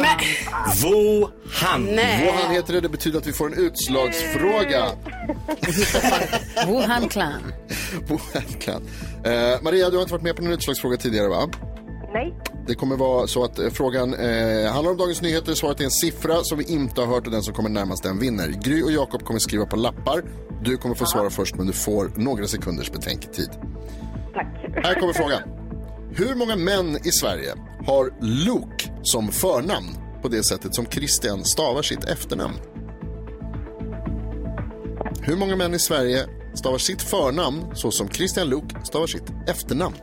S3: Wuhan.
S2: Wuhan heter det. Det betyder att vi får en utslagsfråga.
S1: Wuhan Clan.
S2: Wuhan kan. Eh, Maria, du har inte varit med på någon utslagsfråga tidigare, va?
S10: Nej.
S2: Det kommer vara så att eh, frågan eh, handlar om Dagens Nyheter. Svaret är en siffra som vi inte har hört och den som kommer närmast den vinner. Gry och Jakob kommer skriva på lappar. Du kommer få svara först men du får några sekunders betänketid.
S10: Tack.
S2: Här kommer frågan. Hur många män i Sverige har Luke som förnamn på det sättet som Christian stavar sitt efternamn? Hur många män i Sverige stavar sitt förnamn så som Christian Luuk stavar sitt efternamn?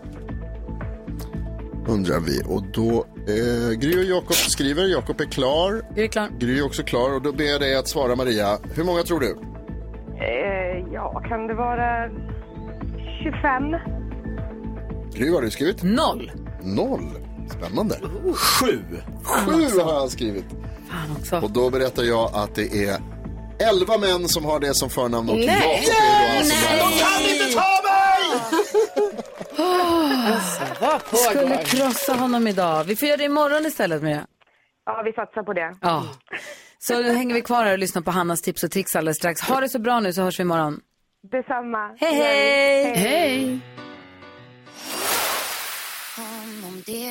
S2: Undrar vi. Och då... Eh, Gry och Jakob skriver. Jakob är klar.
S1: Gry är klar.
S2: Gry är också klar. Och då ber jag dig att svara, Maria. Hur många tror du?
S10: Eh, ja, kan det vara 25?
S2: Gry, vad har du skrivit?
S1: Noll.
S2: Noll. Spännande. Sju. Sju har han skrivit. Och då berättar jag att det är elva män som har det som förnamn och
S6: Nej.
S2: Jakob är då alltså
S6: Nej.
S2: där.
S6: De kan inte ta
S1: Jag skulle krossa honom idag. Vi får göra det imorgon istället Maria.
S10: Ja, vi satsar på det.
S1: Ja. Så då hänger vi kvar här och lyssnar på Hannas tips och tricks alldeles strax. Ha det så bra nu så hörs vi imorgon.
S10: Detsamma.
S1: Hej, hej!
S4: Hej!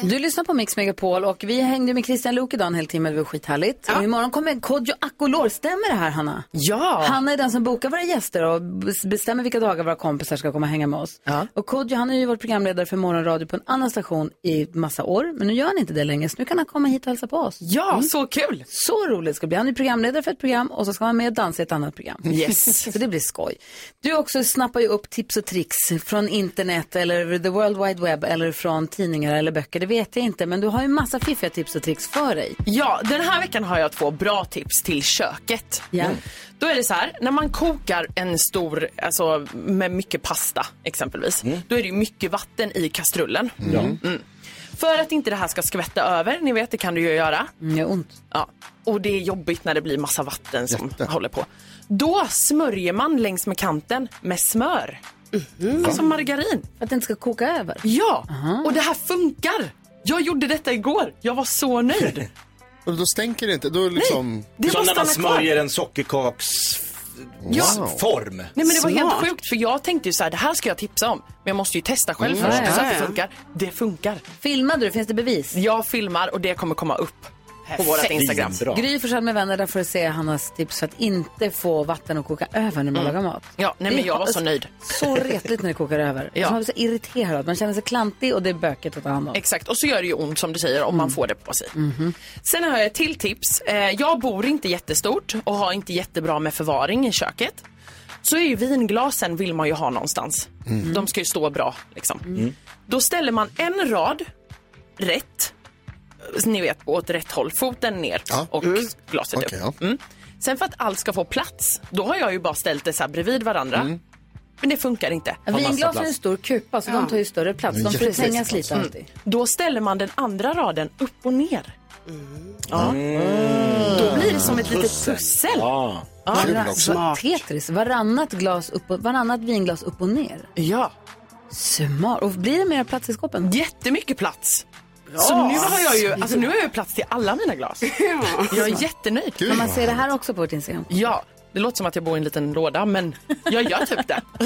S1: Du lyssnar på Mix Megapol och vi hängde med Christian Luuk idag en hel timme, det var skithärligt. Och imorgon kommer Kodjo Akolor, stämmer det här Hanna?
S11: Ja!
S1: Hanna är den som bokar våra gäster och bes- bestämmer vilka dagar våra kompisar ska komma och hänga med oss. Och Kodjo han är ju varit programledare för morgonradio på en annan station i massa år, men nu gör han inte det längre så nu kan han komma hit och hälsa på oss. Mm.
S11: Ja, så kul!
S1: Så roligt ska det bli. Han är programledare för ett program och så ska han med och dansa i ett annat program.
S11: Yes.
S1: så det blir skoj. Du också snappar ju upp tips och tricks från internet eller the world wide web eller från tidningar eller böcker, det vet jag inte. Men du har ju massa fiffiga tips och tricks för dig.
S11: Ja, den här veckan har jag två bra tips till köket. Mm.
S1: Ja.
S11: Då är det så här, när man kokar en stor, alltså med mycket pasta exempelvis,
S8: Mm.
S11: då är det ju mycket vatten i kastrullen. Mm. För att inte det här ska skvätta över, ni vet det kan du ju göra.
S1: Mm, det gör ont.
S11: Ja. Och det är jobbigt när det blir massa vatten som håller på. Då smörjer man längs med kanten med smör. Alltså margarin.
S1: Mhm. För att det inte ska koka över.
S11: Ja, och det här funkar! Jag gjorde detta igår. Jag var så nöjd.
S2: Och då stänker det inte. Då liksom...
S11: Det
S3: Som
S11: bara
S3: när man
S11: stannar kvar.
S3: smörjer en sockerkaksform.
S11: Ja.
S3: form.
S11: Nej men det var
S4: Smart.
S11: helt sjukt för jag tänkte ju så här, det här ska jag tipsa om. Men jag måste ju testa själv
S1: Mm.
S11: först
S1: Ja,
S11: så att
S4: ja,
S11: det
S4: ja.
S11: funkar. Det funkar.
S1: Filmade du? Finns det bevis?
S11: Jag filmar och det kommer komma upp på vårt Instagram.
S3: Bra.
S1: Gry Forssell med vänner, där får du se Hannas tips för att inte få vatten att koka över när man lagar mat.
S11: Mm. Ja, nej men
S1: Det
S11: jag var
S1: har-
S11: så nöjd.
S1: Så retligt när det kokar över.
S11: Ja.
S1: Man blir så irriterad, man känner sig klantig och det är bökigt att ta hand om. Mhm.
S11: Exakt, och så gör det ju ont som du säger om
S1: Mm.
S11: man får det på sig. Sen har jag ett till tips. Eh, Jag bor inte jättestort och har inte jättebra med förvaring i köket. Så är ju vinglasen vill man ju ha någonstans.
S2: Mm.
S11: De ska ju stå bra liksom. Då ställer man en rad rätt, ni vet åt rätt håll, foten ner
S2: Ja. Mm.
S11: och glaset
S2: Okej,
S11: upp.
S2: ja.
S11: Mm. Sen för att allt ska få plats, då har jag ju bara ställt det så här bredvid varandra.
S2: Mm.
S11: Men det funkar inte.
S1: Vinglasen är en stor kupa så de tar ju större plats.
S11: Mm,
S1: De
S2: Jättestor
S1: förträngas lite alltid.
S11: Då ställer man den andra raden upp och ner. Ja. Då blir det som ett litet pussel.
S5: Ja.
S2: Kul
S1: Var-
S2: också.
S1: var- Tetris, varannat, glas upp och, varannat vinglas upp och ner.
S11: Ja.
S1: Smart. Och blir det mer plats i skåpen?
S11: Jättemycket plats. Så nu har jag ju alltså, nu har jag
S2: Mm.
S11: ju plats till alla mina glas. Jag är jättenöjd.
S1: Kan man se det här också på vårt Instagram?
S11: Ja, det låter som att jag bor i en liten låda, men jag gör typ det.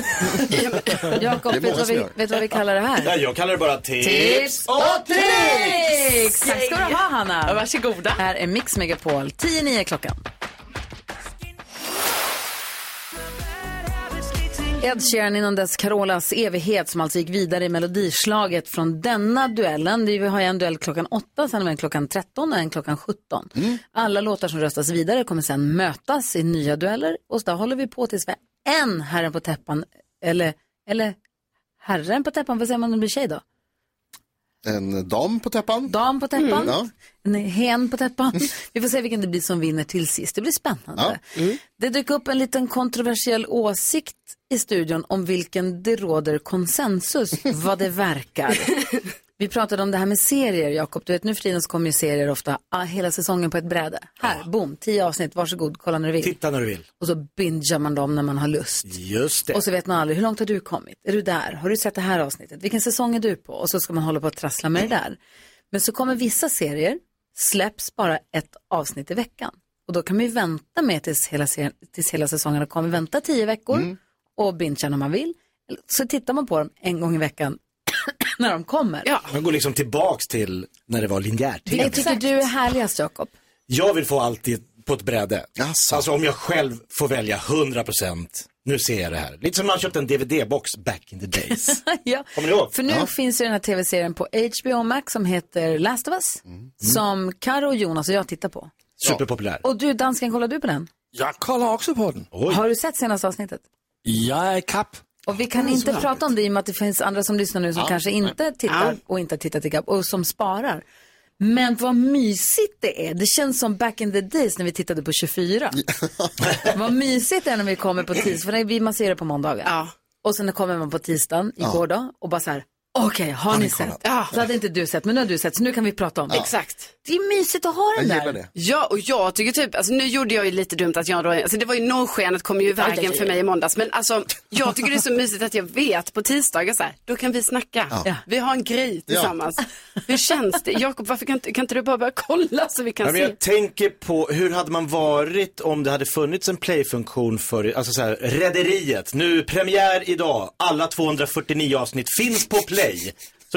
S1: Jakob,
S2: Det är
S1: vet
S2: många
S1: du vad,
S2: som
S1: vi-
S2: gör.
S1: vet du vad vi kallar det här?
S3: Ja, jag kallar det bara tips.
S1: och tricks! Tack ska du ha,
S11: Ja,
S1: Hanna.
S11: Varsågoda.
S1: Här är Mix Megapol, 10-9 klockan. Ed Sheeran innan dess Carolas evighet som alltså gick vidare i melodislaget från denna duellen. Det är- Vi har ju en duell klockan 8, sen har vi en klockan 13 och en klockan 17. Alla låtar som röstas vidare kommer sen mötas i nya dueller och så där håller vi på tills vi har en herren på täppan, eller, eller herren på täppan, vad säger man om det blir tjej då?
S2: En dam på täppan. Mm,
S1: dam på täppan,
S2: Ja.
S1: en hen på täppan. Vi får se vilken det blir som vinner till sist. Det blir spännande.
S2: Mm.
S1: Det dök upp en liten kontroversiell åsikt i studion om vilken det råder konsensus vad det verkar. Vi pratade om det här med serier, Jakob. Du vet, nu för tiden så kommer ju serier ofta ah, hela säsongen på ett bräde. Här, boom, tio avsnitt, varsågod, kolla när du vill.
S3: Titta när du vill.
S1: Och så bingar man dem när man har lust.
S3: Just det.
S1: Och så vet man aldrig, hur långt har du kommit? Är du där? Har du sett det här avsnittet? Vilken säsong är du på? Och så ska man hålla på att trassla med det där. Men så kommer vissa serier, släpps bara ett avsnitt i veckan. Och då kan man ju vänta med tills hela, serien, tills hela säsongen har kommit. Vänta tio veckor
S3: Mm.
S1: och bingea när man vill. Eller Så tittar man på dem en gång i veckan när de kommer.
S4: Ja.
S3: Man går liksom tillbaks till när det var linjärt.
S1: Vilket tycker du är härligast, Jakob?
S3: Jag vill få allt i- på ett bräde.
S2: Jaså.
S3: Alltså om jag själv får välja 100%. Nu ser jag det här. Lite som när man köpte en DVD-box back in the days.
S1: ja.
S3: Kommer ni ihåg?
S1: För nu finns ju den här tv-serien på HBO Max som heter Last of Us.
S3: Mm.
S1: Som Karo, Jonas och jag tittar på.
S3: Superpopulär.
S1: Och du, dansken, kollar du på den?
S5: Jag kollar också på den.
S1: Har du sett senaste avsnittet?
S5: Jag är i kapp.
S1: Och vi kan
S5: Mm,
S1: inte
S5: så
S1: prata om det i och med att det finns andra som lyssnar nu som
S5: Ja,
S1: kanske
S5: nej.
S1: inte tittar
S5: Ja.
S1: och inte har tittat i kapp och som sparar. Men vad mysigt det är. Det känns som back in the days när vi tittade på 24. vad mysigt det är när vi kommer på tisdag. För det är vi- man ser det på måndagar. Och sen kommer man på tisdagen,
S11: Ja.
S1: igår då, och bara så här. Okej, har, ni sett? Så hade inte du sett, men nu har du sett, så nu kan vi prata om det.
S4: Exakt.
S1: Det är mysigt att ha den där.
S4: Ja, och jag tycker typ, alltså nu gjorde jag ju lite dumt att jag då, alltså det var ju norrskenet kom ju i
S1: Aj, aj,
S4: vägen
S1: aj.
S4: för mig i måndags, men alltså jag tycker det är så mysigt att jag vet på tisdagar så här, då kan vi snacka.
S1: Ja. Ja.
S4: Vi har en grej tillsammans. Hur känns det? Jakob, varför kan, inte- kan inte du bara börja kolla så vi kan
S3: Ja, men
S4: se?
S3: jag tänker på, hur hade man varit om det hade funnits en playfunktion för, alltså så här, Rederiet, nu premiär idag, alla 249 avsnitt finns på play. Så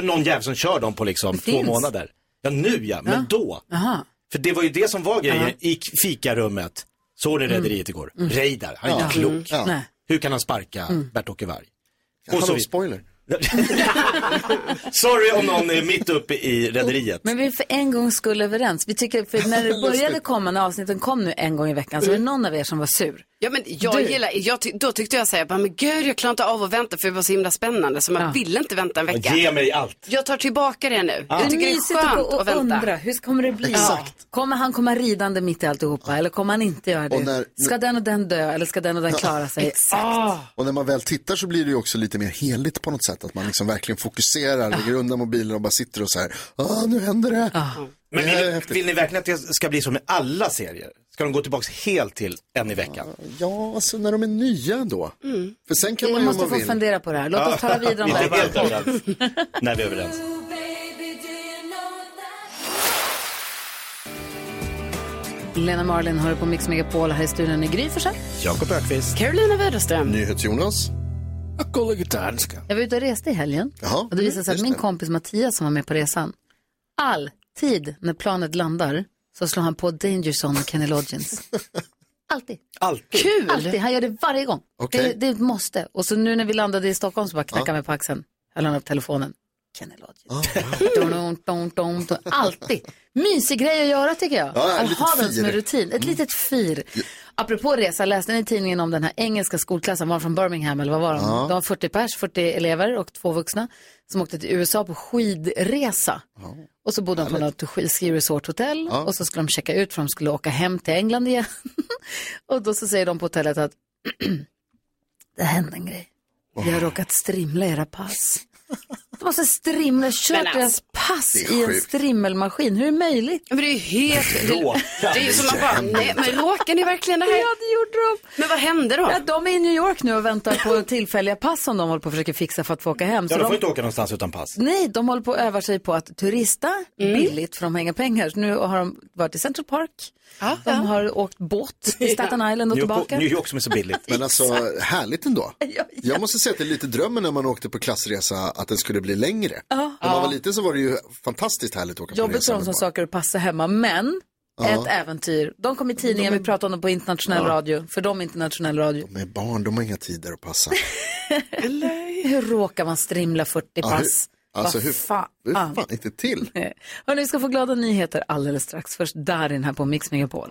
S3: det är någon jävel som kör dem på liksom två
S1: finns.
S3: månader. Ja nu ja, men
S1: Ja.
S3: då.
S1: Aha.
S3: För det var ju det som var grejen
S1: Ja.
S3: i k- fikarummet. Såg ni Rederiet igår?
S1: Mm.
S3: Reidar, han är
S1: Ja.
S3: inte klok.
S1: Mm. Ja. Nej.
S3: Hur kan han sparka
S1: Mm.
S3: Bert-Åke Varg?
S2: Hallå,
S3: vidare.
S2: spoiler.
S3: Sorry om någon är mitt uppe i Rederiet.
S1: Men vi är för en gångs skull överens. Vi tycker, för när det började komma, när avsnitten kom nu en gång i veckan, så var det någon av er som var sur.
S4: Ja men jag
S1: Du.
S4: gillar, jag ty- då tyckte jag såhär, men gud jag klarar inte av att vänta för det var så himla spännande så man vill inte vänta en vecka.
S3: Ge mig allt.
S4: Jag tar tillbaka det nu.
S1: Ah.
S4: Jag tycker det
S1: Mysigt att
S4: är skönt
S1: gå och
S4: att vänta.
S1: undra, hur kommer det bli?
S4: Exakt.
S1: Kommer han komma ridande mitt i alltihopa eller kommer han inte göra det?
S2: Och när-
S1: Ska den och den dö eller ska den och den klara sig? Ah. Exakt.
S2: Och när man väl tittar så blir det ju också lite mer heligt på något sätt. Att man liksom verkligen fokuserar,
S1: Ah.
S2: lägger undan mobilen och bara sitter och så här. Ah, nu händer det.
S3: Men vill, vill ni verkligen att det ska bli så med alla serier? Ska de gå tillbaka helt till en i veckan?
S2: Ja, alltså när de är nya då.
S4: Mm.
S2: För sen kan
S1: Vi
S2: man ju om
S1: måste
S2: man
S1: få
S2: vill.
S1: fundera på det här. Låt oss tala vidare om det
S3: Vi är helt
S1: här.
S3: överens. När vi är överens.
S1: Lena Marlin har på Mix Megapol här i studion i Gry Forssell.
S3: Jakob Ökvist.
S4: Carolina Widerström.
S2: NyhetsJonas.
S5: Jag kollar gitarrska.
S1: Jag var ute och reste i helgen. och det visade sig att min kompis Mattias som var med på resan, alltid när planet landar så slår han på Danger Zone och Kenny Loggins. Alltid.
S3: Alltid.
S4: Kul!
S1: Alltid. Han gör det varje gång.
S2: Okej.
S1: Det, det är ett måste. Och så nu när vi landade i Stockholm så bara knackade han mig på axeln. Höll han upp telefonen. Kenny
S2: Ah,
S1: Loggins. Dun, dun, dun, dun, dun. Alltid. Mysig grej att göra tycker jag.
S2: Ja,
S1: att
S2: lite
S1: ha den
S2: fir. Mm.
S1: som en rutin. Ett litet fir. Apropå resa, läste ni i tidningen om den här engelska skolklassen, var de från Birmingham eller vad var de?
S12: Ja.
S1: De var 40 pers, 40 elever och två vuxna som åkte till USA på skidresa. Och så bodde de på något ski- ski resort hotell
S12: Ja.
S1: och så skulle de checka ut för de skulle åka hem till England igen. och då så säger de på hotellet att det hände en grej. Vi har råkat strimla era pass. De måste strimla, kört
S4: Men alltså,
S1: deras pass
S4: det är
S1: i en
S4: sjukt.
S1: strimmelmaskin. Hur är det möjligt?
S4: Men det är ju helt... Det
S1: Råkar
S4: är ju som man bara,
S1: inte.
S4: nej, men råkar ni verkligen det här?
S1: Ja, det gjorde de.
S4: Men vad hände då?
S1: Ja, de är i New York nu och väntar på tillfälliga pass som de håller på att försöka fixa för att få åka hem.
S3: Ja,
S1: Så
S3: de
S1: de-
S3: får inte åka någonstans utan pass.
S1: Nej, de håller på att öva sig på att turista billigt för de har inga pengar. Så nu har de varit i Central Park, de har åkt båt i Staten Island och tillbaka.
S3: som är så billigt.
S2: Men alltså, härligt ändå. Jag måste säga att det är lite drömmen när man åkte på klassresa att den skulle bli längre.
S1: Ja.
S2: När man
S1: Ja.
S2: var liten så var det ju fantastiskt härligt att åka på
S1: Jobbigt
S2: resa.
S1: för de
S2: med
S1: som
S2: barn.
S1: söker att passa hemma, men
S2: Ja.
S1: ett äventyr. De kom i tidningen, vi pratade om dem på internationell
S2: Ja.
S1: radio, för de är internationell radio.
S2: Med barn, de har inga tider att passa.
S1: Hur råkar man strimla 40
S2: Ja,
S1: pass?
S2: hur- alltså
S1: Vad
S2: hur,
S1: fan? Ah,
S2: hur fan inte till?
S1: Hörrni, vi ska få glada nyheter alldeles strax. Först Darin här på Mix Megapol.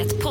S6: Ett